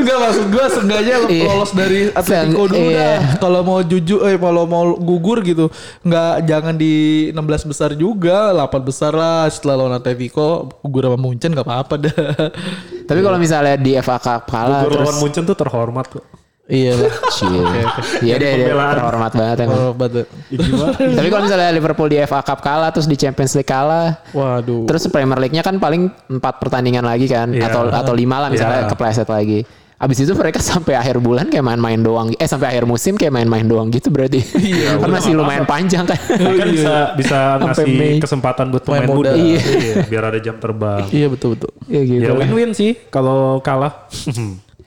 [SPEAKER 3] Enggak maksud gue seenggaknya lo-
[SPEAKER 2] Iya.
[SPEAKER 3] lolos dari Atletico
[SPEAKER 2] Sen-
[SPEAKER 3] dulu
[SPEAKER 2] iya.
[SPEAKER 3] dah. Kalau mau jujur, eh kalau mau gugur gitu, nggak jangan di 16 besar juga, 8 besar lah. Setelah lawan Atletico, gugur sama Munchen nggak apa-apa dah. Iya.
[SPEAKER 2] Tapi kalau misalnya di FA Cup
[SPEAKER 1] Gol
[SPEAKER 2] kalah terus
[SPEAKER 1] lawan Munchen tuh terhormat kok.
[SPEAKER 3] iya lah.
[SPEAKER 2] Cie. Iya deh, deh,
[SPEAKER 1] Pembelaan.
[SPEAKER 2] terhormat banget emang.
[SPEAKER 3] Kalau bad-
[SPEAKER 2] Tapi kalau misalnya Liverpool di FA Cup kalah terus di Champions League kalah,
[SPEAKER 3] Waduh.
[SPEAKER 2] terus Premier League-nya kan paling 4 pertandingan lagi kan
[SPEAKER 1] Iya.
[SPEAKER 2] atau atau 5 lah misalnya
[SPEAKER 1] Iya.
[SPEAKER 2] kepleset lagi. Abis itu mereka sampai akhir bulan kayak main-main doang. Eh sampai akhir musim kayak main-main doang gitu berarti. Iya. kan masih lumayan panjang kan.
[SPEAKER 1] kan bisa bisa
[SPEAKER 2] Sampai
[SPEAKER 1] ngasih
[SPEAKER 2] Mei.
[SPEAKER 1] kesempatan buat pemain
[SPEAKER 3] Pemain muda.
[SPEAKER 1] muda.
[SPEAKER 2] Iya.
[SPEAKER 1] Iya, biar ada jam terbang.
[SPEAKER 3] Iya betul betul.
[SPEAKER 2] Iya gitu.
[SPEAKER 1] Ya
[SPEAKER 2] lah.
[SPEAKER 1] win-win sih kalau kalah.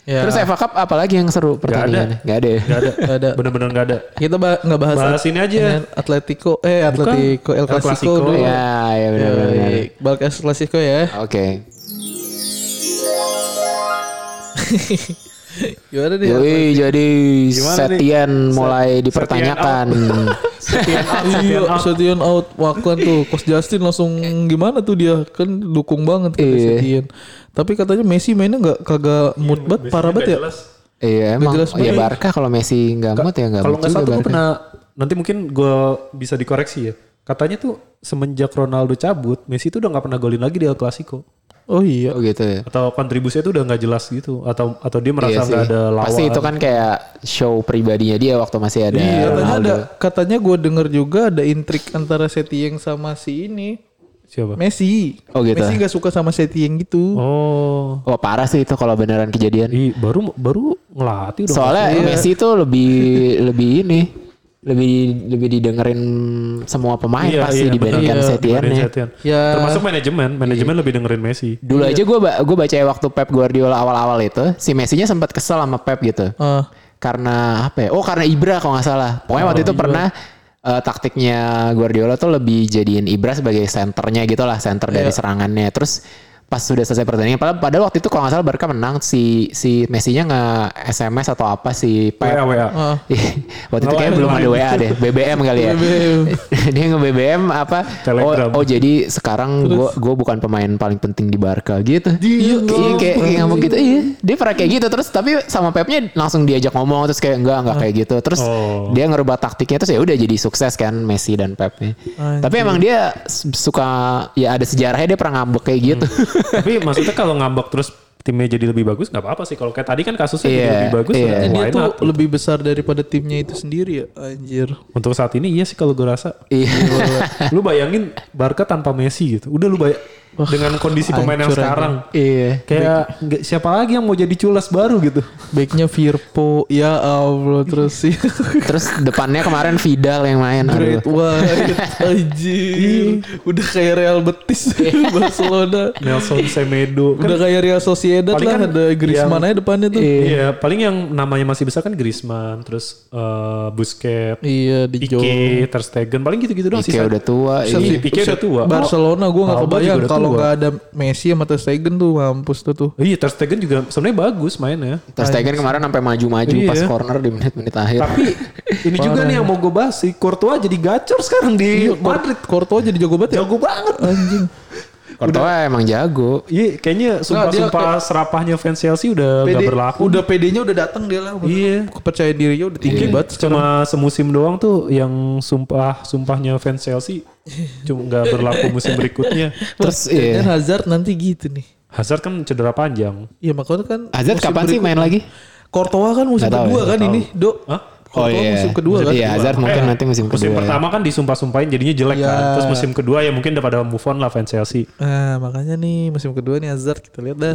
[SPEAKER 3] Ya.
[SPEAKER 2] Terus FA Cup apalagi yang seru pertandingannya? Gak ada. ya?
[SPEAKER 1] Gak ada.
[SPEAKER 3] Nggak ada.
[SPEAKER 1] Bener-bener gak ada.
[SPEAKER 3] Kita bah- nggak bahas,
[SPEAKER 1] Bahas ini aja.
[SPEAKER 3] Atletico, eh Atletico El
[SPEAKER 1] El Clasico.
[SPEAKER 3] Clasico dulu.
[SPEAKER 2] Ya, ya
[SPEAKER 3] Ya,
[SPEAKER 2] benar-benar.
[SPEAKER 3] baik. Balik El Clasico ya.
[SPEAKER 2] Oke.
[SPEAKER 3] Gimana nih? Iya,
[SPEAKER 2] Yoi, jadi Setian mulai dipertanyakan.
[SPEAKER 3] Iya, Setien out. Wah, kan tuh Coach Justin langsung gimana tuh dia kan dukung banget kan
[SPEAKER 2] Iya.
[SPEAKER 3] Setien. Tapi katanya Messi mainnya nggak kagak mood banget, parah banget ya.
[SPEAKER 2] Iya emang
[SPEAKER 3] jelas
[SPEAKER 2] ya
[SPEAKER 3] banget.
[SPEAKER 2] Barca kalau Messi nggak mood ya nggak
[SPEAKER 1] Kalau
[SPEAKER 2] mood
[SPEAKER 1] nggak
[SPEAKER 2] juga
[SPEAKER 1] salah tuh gue
[SPEAKER 2] Barca.
[SPEAKER 1] pernah nanti mungkin gue bisa dikoreksi ya. Katanya tuh semenjak Ronaldo cabut, Messi tuh udah nggak pernah golin lagi di El Clasico.
[SPEAKER 3] Oh iya.
[SPEAKER 2] Oh gitu ya.
[SPEAKER 1] Atau kontribusinya tuh udah nggak jelas gitu. Atau atau dia
[SPEAKER 2] Iya
[SPEAKER 1] merasa
[SPEAKER 2] sih.
[SPEAKER 1] nggak ada lawan.
[SPEAKER 2] Pasti itu kan kayak show pribadinya dia waktu masih ada
[SPEAKER 3] Iya, katanya
[SPEAKER 2] Ronaldo.
[SPEAKER 3] ada katanya gue denger juga ada intrik antara Setien sama si ini
[SPEAKER 1] siapa?
[SPEAKER 3] Messi.
[SPEAKER 2] Oh, gitu.
[SPEAKER 3] Messi nggak suka sama Setien gitu.
[SPEAKER 1] Oh,
[SPEAKER 2] Wah parah sih itu kalau beneran kejadian.
[SPEAKER 1] ih, baru baru ngelatih Iya, udah.
[SPEAKER 2] Soalnya Messi itu lebih lebih ini lebih lebih didengerin semua pemain
[SPEAKER 1] Iya, iya,
[SPEAKER 2] pasti dibandingkan
[SPEAKER 1] bener.
[SPEAKER 2] Setian
[SPEAKER 1] Dibanding
[SPEAKER 2] ya.
[SPEAKER 1] Setien.
[SPEAKER 3] Ya.
[SPEAKER 1] Termasuk manajemen, manajemen lebih dengerin Messi.
[SPEAKER 2] Dulu aja gue gue baca waktu Pep Guardiola awal-awal itu si Messinya sempat kesel sama Pep gitu.
[SPEAKER 3] Ah,
[SPEAKER 2] Karena apa ya? Oh karena Ibra kalau nggak salah. Pokoknya waktu itu pernah eh, taktiknya Guardiola tuh lebih jadiin Ibra sebagai senternya gitu lah, center dari serangannya. Terus pas sudah selesai pertandingan, padahal, padahal waktu itu kalau nggak salah Barca menang si si Messinya nggak SMS atau apa si Pep.
[SPEAKER 1] WA WA.
[SPEAKER 3] ah.
[SPEAKER 2] waktu itu kayaknya belum ada WA deh, BBM kali ya. Dia nge BBM apa?
[SPEAKER 1] Telegram.
[SPEAKER 2] Oh, oh jadi sekarang gue gue bukan pemain paling penting di Barca gitu. Iya, kayak kayak ngomong gitu. Iya, dia pernah kayak gitu terus tapi sama Pepnya langsung diajak ngomong terus kayak enggak enggak kayak gitu. Terus
[SPEAKER 1] Oh.
[SPEAKER 2] dia ngerubah taktiknya terus ya udah jadi sukses kan Messi dan Pepnya. Tapi emang dia s- suka ya ada sejarahnya dia pernah ngambek kayak gitu.
[SPEAKER 1] Tapi maksudnya kalau ngambek terus timnya jadi lebih bagus nggak apa-apa sih. Kalau kayak tadi kan kasusnya jadi
[SPEAKER 2] Iya,
[SPEAKER 1] lebih bagus.
[SPEAKER 2] iya.
[SPEAKER 1] berarti
[SPEAKER 3] Eh, Dia
[SPEAKER 1] why
[SPEAKER 3] tuh
[SPEAKER 1] not?
[SPEAKER 3] lebih besar daripada timnya itu sendiri ya, anjir.
[SPEAKER 1] Untuk saat ini iya sih kalau gue rasa.
[SPEAKER 2] Iya.
[SPEAKER 1] lu bayangin Barca tanpa Messi gitu. Udah lu bayang dengan kondisi pemain yang
[SPEAKER 3] hancur aja.
[SPEAKER 1] sekarang.
[SPEAKER 2] Iya.
[SPEAKER 1] Kayak nggak- siapa lagi yang mau jadi culas baru gitu.
[SPEAKER 3] Backnya Firpo, ya Allah terus sih.
[SPEAKER 2] Terus depannya kemarin Vidal yang main. Aduh.
[SPEAKER 3] Great White Anjir Udah kayak Real Betis Barcelona
[SPEAKER 1] Nelson Semedo. Kan,
[SPEAKER 3] Udah kayak gitu. Real Sociedad
[SPEAKER 1] Paling
[SPEAKER 3] lah
[SPEAKER 1] kan
[SPEAKER 3] Ada Griezmann aja depannya tuh
[SPEAKER 1] Iya, paling yang namanya masih besar kan Griezmann, terus eh, Busquets,
[SPEAKER 3] Iya di Jo
[SPEAKER 1] Pique, Ter Stegen, paling gitu-gitu doang sih.
[SPEAKER 2] Kayak udah tua.
[SPEAKER 1] Iya,
[SPEAKER 2] Iya.
[SPEAKER 1] Pique udah tua.
[SPEAKER 3] Barcelona gue gak
[SPEAKER 1] Alba
[SPEAKER 3] kebayang
[SPEAKER 1] juga udah
[SPEAKER 3] Kalau
[SPEAKER 1] tua.
[SPEAKER 3] gak ada Messi sama Ter Stegen tuh Mampus tuh tuh
[SPEAKER 1] Iya, Ter Stegen juga sebenarnya bagus mainnya.
[SPEAKER 2] Terus Stegen kemarin sampai maju-maju
[SPEAKER 1] Iya.
[SPEAKER 2] pas corner di menit-menit akhir.
[SPEAKER 1] Tapi ini juga nih yang mau gue bahas si Courtois jadi gacor sekarang di
[SPEAKER 3] Iya,
[SPEAKER 1] Iya, Madrid.
[SPEAKER 3] Courtois jadi jago banget ya
[SPEAKER 1] Jago banget.
[SPEAKER 3] Anjing
[SPEAKER 2] Courtois emang jago.
[SPEAKER 1] Iya, kayaknya sumpah-sumpah serapahnya fans Chelsea udah
[SPEAKER 3] PD
[SPEAKER 1] nggak berlaku.
[SPEAKER 3] Udah PD-nya udah datang dia lah
[SPEAKER 1] Iya.
[SPEAKER 3] Kepercayaan dirinya udah tinggi
[SPEAKER 2] Iya.
[SPEAKER 1] Mungkin
[SPEAKER 3] banget
[SPEAKER 1] cuma semusim doang tuh yang sumpah sumpahnya fans Chelsea cuma nggak berlaku musim berikutnya.
[SPEAKER 2] Terus
[SPEAKER 3] Dan
[SPEAKER 2] iya.
[SPEAKER 3] Hazard nanti gitu nih
[SPEAKER 1] Hazard kan cedera panjang.
[SPEAKER 3] Iya makanya kan
[SPEAKER 2] Hazard
[SPEAKER 3] musim
[SPEAKER 2] kapan sih
[SPEAKER 3] berikut-
[SPEAKER 2] main lagi?
[SPEAKER 5] Kortoa kan musim
[SPEAKER 2] Nggak tahu
[SPEAKER 5] kedua
[SPEAKER 2] ya,
[SPEAKER 5] kan
[SPEAKER 2] nggak
[SPEAKER 5] ini, Dok.
[SPEAKER 1] Hah?
[SPEAKER 5] Kortoa musim kedua kan.
[SPEAKER 2] Iya, Hazard mungkin nanti musim kedua.
[SPEAKER 1] Eh, Musim
[SPEAKER 2] ya.
[SPEAKER 1] pertama kan disumpah-sumpahin jadinya jelek
[SPEAKER 5] Iya.
[SPEAKER 1] kan. Terus musim kedua ya mungkin udah pada move on lah fans Chelsea.
[SPEAKER 5] Nah, makanya nih musim kedua nih Hazard kita lihat dah.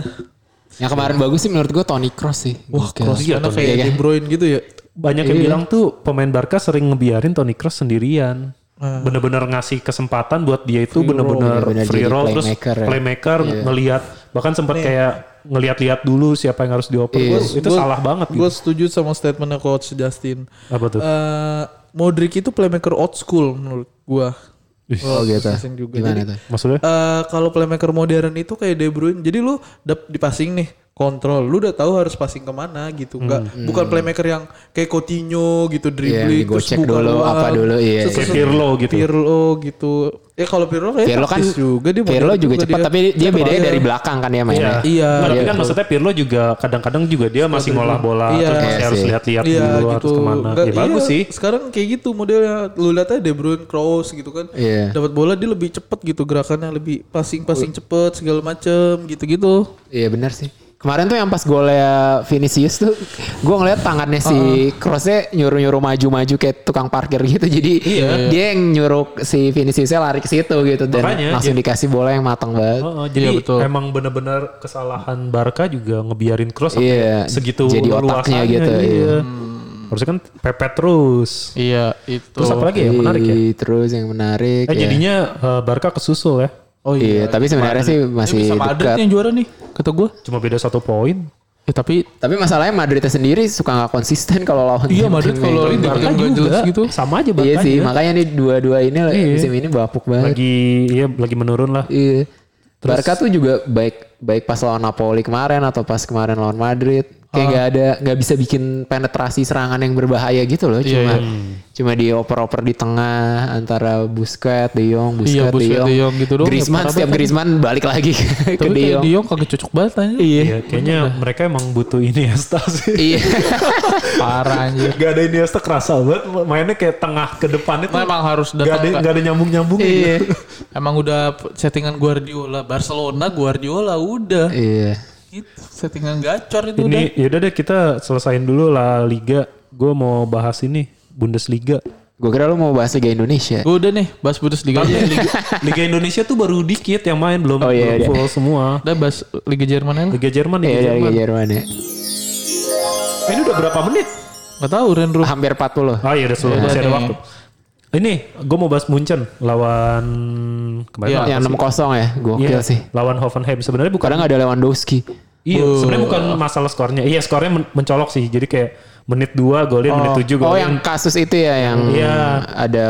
[SPEAKER 2] Yang kemarin bagus sih menurut gue Toni Kroos sih.
[SPEAKER 5] Wah,
[SPEAKER 2] Gokil.
[SPEAKER 5] Kroos
[SPEAKER 2] Iya,
[SPEAKER 5] karena
[SPEAKER 2] Toni.
[SPEAKER 5] kayak
[SPEAKER 2] Iya,
[SPEAKER 5] De Bruyne gitu ya.
[SPEAKER 1] Banyak yang bilang tuh pemain Barca sering ngebiarin Toni Kroos sendirian.
[SPEAKER 5] Ah.
[SPEAKER 1] Bener-bener ngasih kesempatan buat dia itu bener-bener
[SPEAKER 2] Bener-bener
[SPEAKER 1] free
[SPEAKER 2] jadi
[SPEAKER 1] roll terus
[SPEAKER 2] playmaker ya.
[SPEAKER 1] playmaker ngelihat bahkan sempat kayak ngelihat-lihat dulu siapa yang harus dioper.
[SPEAKER 2] Iya.
[SPEAKER 1] Gua- Itu
[SPEAKER 5] Gua-
[SPEAKER 1] salah banget
[SPEAKER 5] Gue
[SPEAKER 1] gitu.
[SPEAKER 5] setuju sama statementnya coach Justin.
[SPEAKER 1] Apa tuh?
[SPEAKER 5] Eh, Modric itu playmaker old school menurut gue.
[SPEAKER 2] Oh gitu.
[SPEAKER 5] Justin juga.
[SPEAKER 2] Gimana
[SPEAKER 5] Jadi,
[SPEAKER 2] tuh?
[SPEAKER 1] Maksudnya?
[SPEAKER 5] Eh, kalau playmaker modern itu kayak De Bruyne. Jadi lu dap- di passing nih kontrol, lu udah tahu harus passing kemana gitu. Enggak,
[SPEAKER 2] Hmm.
[SPEAKER 5] bukan playmaker yang kayak Coutinho gitu dribbling
[SPEAKER 2] digocek Iya, dulu, apa dulu, iya,
[SPEAKER 5] Terus-
[SPEAKER 1] Kayak
[SPEAKER 5] terus-
[SPEAKER 1] Pirlo gitu.
[SPEAKER 5] Pirlo gitu. Ya kalau Pirlo kayak
[SPEAKER 2] Pirlo kan
[SPEAKER 5] taktis juga dia modern
[SPEAKER 2] Pirlo juga cepat
[SPEAKER 5] dia.
[SPEAKER 2] tapi dia bedanya dari belakang kan dia mainnya.
[SPEAKER 5] Iya.
[SPEAKER 1] Nah, tapi
[SPEAKER 5] Iya,
[SPEAKER 1] kan maksudnya Pirlo juga kadang-kadang juga dia masih ngolah bola
[SPEAKER 5] Iya.
[SPEAKER 1] terus
[SPEAKER 2] Iya
[SPEAKER 1] masih harus
[SPEAKER 2] sih.
[SPEAKER 1] lihat-lihat
[SPEAKER 5] Iya
[SPEAKER 1] dulu
[SPEAKER 5] gitu.
[SPEAKER 1] harus kemana.
[SPEAKER 5] Nggak,
[SPEAKER 1] ya
[SPEAKER 5] iya,
[SPEAKER 1] bagus sih.
[SPEAKER 5] Sekarang kayak gitu modelnya. Lu lihat aja De Bruyne, Kroos gitu kan.
[SPEAKER 2] Iya.
[SPEAKER 5] Dapat bola dia lebih cepet gitu gerakannya lebih passing-passing cepet segala macem gitu-gitu.
[SPEAKER 2] Iya benar sih. Kemarin tuh yang pas golnya Vinicius tuh gue ngeliat tangannya si Kroosnya nyuruh-nyuruh maju-maju kayak tukang parkir gitu. Jadi dia yang nyuruh si Viniciusnya lari ke situ gitu dan
[SPEAKER 1] Makanya,
[SPEAKER 2] langsung dikasih bola yang matang banget.
[SPEAKER 1] Oh, oh, jadi
[SPEAKER 5] Iya, betul.
[SPEAKER 1] emang bener-bener kesalahan Barca juga ngebiarin cross
[SPEAKER 2] Iya,
[SPEAKER 1] segitu
[SPEAKER 2] jadi
[SPEAKER 1] luasannya,
[SPEAKER 2] otaknya gitu, iya.
[SPEAKER 1] Harusnya kan pepet terus.
[SPEAKER 3] Iya itu.
[SPEAKER 1] Terus apa lagi ya yang menarik ya?
[SPEAKER 2] Ih, Terus yang menarik.
[SPEAKER 1] Eh
[SPEAKER 2] ya.
[SPEAKER 1] jadinya eh, Barca kesusul ya.
[SPEAKER 5] Oh
[SPEAKER 2] iya, tapi sebenarnya sih masih
[SPEAKER 3] Bisa Madrid
[SPEAKER 2] dekat.
[SPEAKER 3] yang juara nih kata gue.
[SPEAKER 1] Cuma beda satu poin.
[SPEAKER 3] Ya tapi
[SPEAKER 2] Tapi masalahnya Madridnya sendiri suka nggak konsisten kalau lawan
[SPEAKER 3] Iya,
[SPEAKER 2] tim-tim
[SPEAKER 3] Madrid
[SPEAKER 2] yang-
[SPEAKER 3] kalau- Iya,
[SPEAKER 1] Tapi
[SPEAKER 5] Kan
[SPEAKER 1] Barca
[SPEAKER 3] tim
[SPEAKER 1] Kan juga
[SPEAKER 3] nggak jelas gitu.
[SPEAKER 1] sama aja Barca.
[SPEAKER 2] Iya sih, makanya nih dua-dua ini lah, musim ini bapuk banget.
[SPEAKER 1] Lagi iya lagi menurun lah.
[SPEAKER 2] Iya. Barca tuh juga baik baik pas lawan Napoli kemarin atau pas kemarin lawan Madrid kayak nggak ada nggak bisa bikin penetrasi serangan yang berbahaya gitu loh cuma cuma di oper-oper di tengah antara Busquets, De Jong,
[SPEAKER 3] Iya,
[SPEAKER 2] Busquets,
[SPEAKER 3] Busquets,
[SPEAKER 2] De
[SPEAKER 3] De
[SPEAKER 2] Jong,
[SPEAKER 3] Jong gitu doang.
[SPEAKER 2] Griezmann
[SPEAKER 3] Ya,
[SPEAKER 2] setiap
[SPEAKER 3] parah
[SPEAKER 2] Griezmann balik lagi ke
[SPEAKER 3] tapi
[SPEAKER 2] De
[SPEAKER 3] kayak
[SPEAKER 2] Jong.
[SPEAKER 3] Dion kagak cocok banget aja.
[SPEAKER 1] Iya, kayaknya mereka emang butuh ya, Iniesta sih.
[SPEAKER 2] Iya.
[SPEAKER 3] Parah anjir.
[SPEAKER 1] Gak ada Iniesta kerasa banget mainnya kayak tengah ke depan itu.
[SPEAKER 3] Memang harus
[SPEAKER 1] gak
[SPEAKER 3] datang
[SPEAKER 1] ada
[SPEAKER 3] ke-
[SPEAKER 1] gak ada nyambung nyambung
[SPEAKER 2] Iya.
[SPEAKER 3] Emang udah settingan Guardiola, Barcelona Guardiola udah.
[SPEAKER 2] Iya.
[SPEAKER 3] Gitu, settingan gacor itu udah.
[SPEAKER 1] Ini yaudah deh kita selesain dulu lah liga. Gue mau bahas ini Bundesliga.
[SPEAKER 2] Gue kira lu mau bahas Liga Indonesia.
[SPEAKER 3] Gue udah nih bahas Bundesliga.
[SPEAKER 1] Iya.
[SPEAKER 3] Liga,
[SPEAKER 1] Eh, Liga Indonesia tuh baru dikit yang main belum,
[SPEAKER 2] Oh, iya,
[SPEAKER 1] belum
[SPEAKER 2] iya.
[SPEAKER 1] full semua.
[SPEAKER 3] udah bahas Liga Jerman aja lah.
[SPEAKER 1] Liga Jerman, Liga
[SPEAKER 2] Iya dari
[SPEAKER 1] Jerman.
[SPEAKER 2] Liga Jerman ya.
[SPEAKER 1] Eh, Ini udah berapa menit?
[SPEAKER 3] Gak tau Renro.
[SPEAKER 2] Hampir 40.
[SPEAKER 1] Ah iya udah selalu masih ada
[SPEAKER 3] Iya.
[SPEAKER 1] waktu. Ini gue mau bahas Munchen lawan kemarin
[SPEAKER 3] Iya,
[SPEAKER 1] apa
[SPEAKER 2] Yang
[SPEAKER 1] sih?
[SPEAKER 2] 6-0 ya, gokil
[SPEAKER 1] Iya,
[SPEAKER 2] sih.
[SPEAKER 1] Lawan Hoffenheim sebenarnya bukan
[SPEAKER 2] Kadang ada Lewandowski.
[SPEAKER 1] Iya, sebenarnya bukan masalah skornya. Iya, skornya men- mencolok sih. Jadi kayak menit 2 golin, menit 7 golin.
[SPEAKER 2] Oh yang kasus itu ya yang
[SPEAKER 1] Iya.
[SPEAKER 2] ada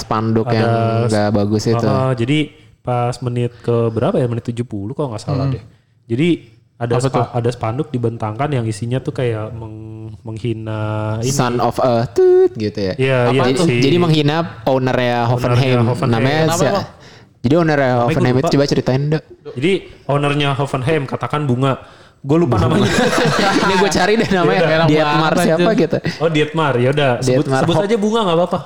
[SPEAKER 2] spanduk yang nggak bagus itu.
[SPEAKER 1] Heeh, jadi pas menit ke berapa ya? Menit 70 kalau nggak
[SPEAKER 2] Hmm.
[SPEAKER 1] salah deh. Jadi ada spa- ada spanduk dibentangkan yang isinya tuh kayak meng- menghina ini.
[SPEAKER 2] Son of a tut gitu ya.
[SPEAKER 1] Iya, iya
[SPEAKER 2] jadi,
[SPEAKER 1] sih.
[SPEAKER 2] jadi menghina ownernya Hoffenheim.
[SPEAKER 1] Hoffenheim.
[SPEAKER 2] Namanya
[SPEAKER 3] Kenapa
[SPEAKER 2] si-
[SPEAKER 3] emang?
[SPEAKER 2] Jadi ownernya Hoffenheim
[SPEAKER 1] gua
[SPEAKER 2] itu
[SPEAKER 1] lupa.
[SPEAKER 2] coba ceritain dok.
[SPEAKER 1] Jadi ownernya Hoffenheim katakan bunga. Gue lupa namanya.
[SPEAKER 2] Ini gue cari deh namanya
[SPEAKER 3] Iya, udah.
[SPEAKER 2] Dietmar
[SPEAKER 3] Lama
[SPEAKER 2] siapa
[SPEAKER 3] aja.
[SPEAKER 2] gitu.
[SPEAKER 1] Oh Dietmar, ya udah sebut,
[SPEAKER 2] Dietmar
[SPEAKER 1] sebut
[SPEAKER 2] Hopp.
[SPEAKER 1] aja bunga nggak apa-apa.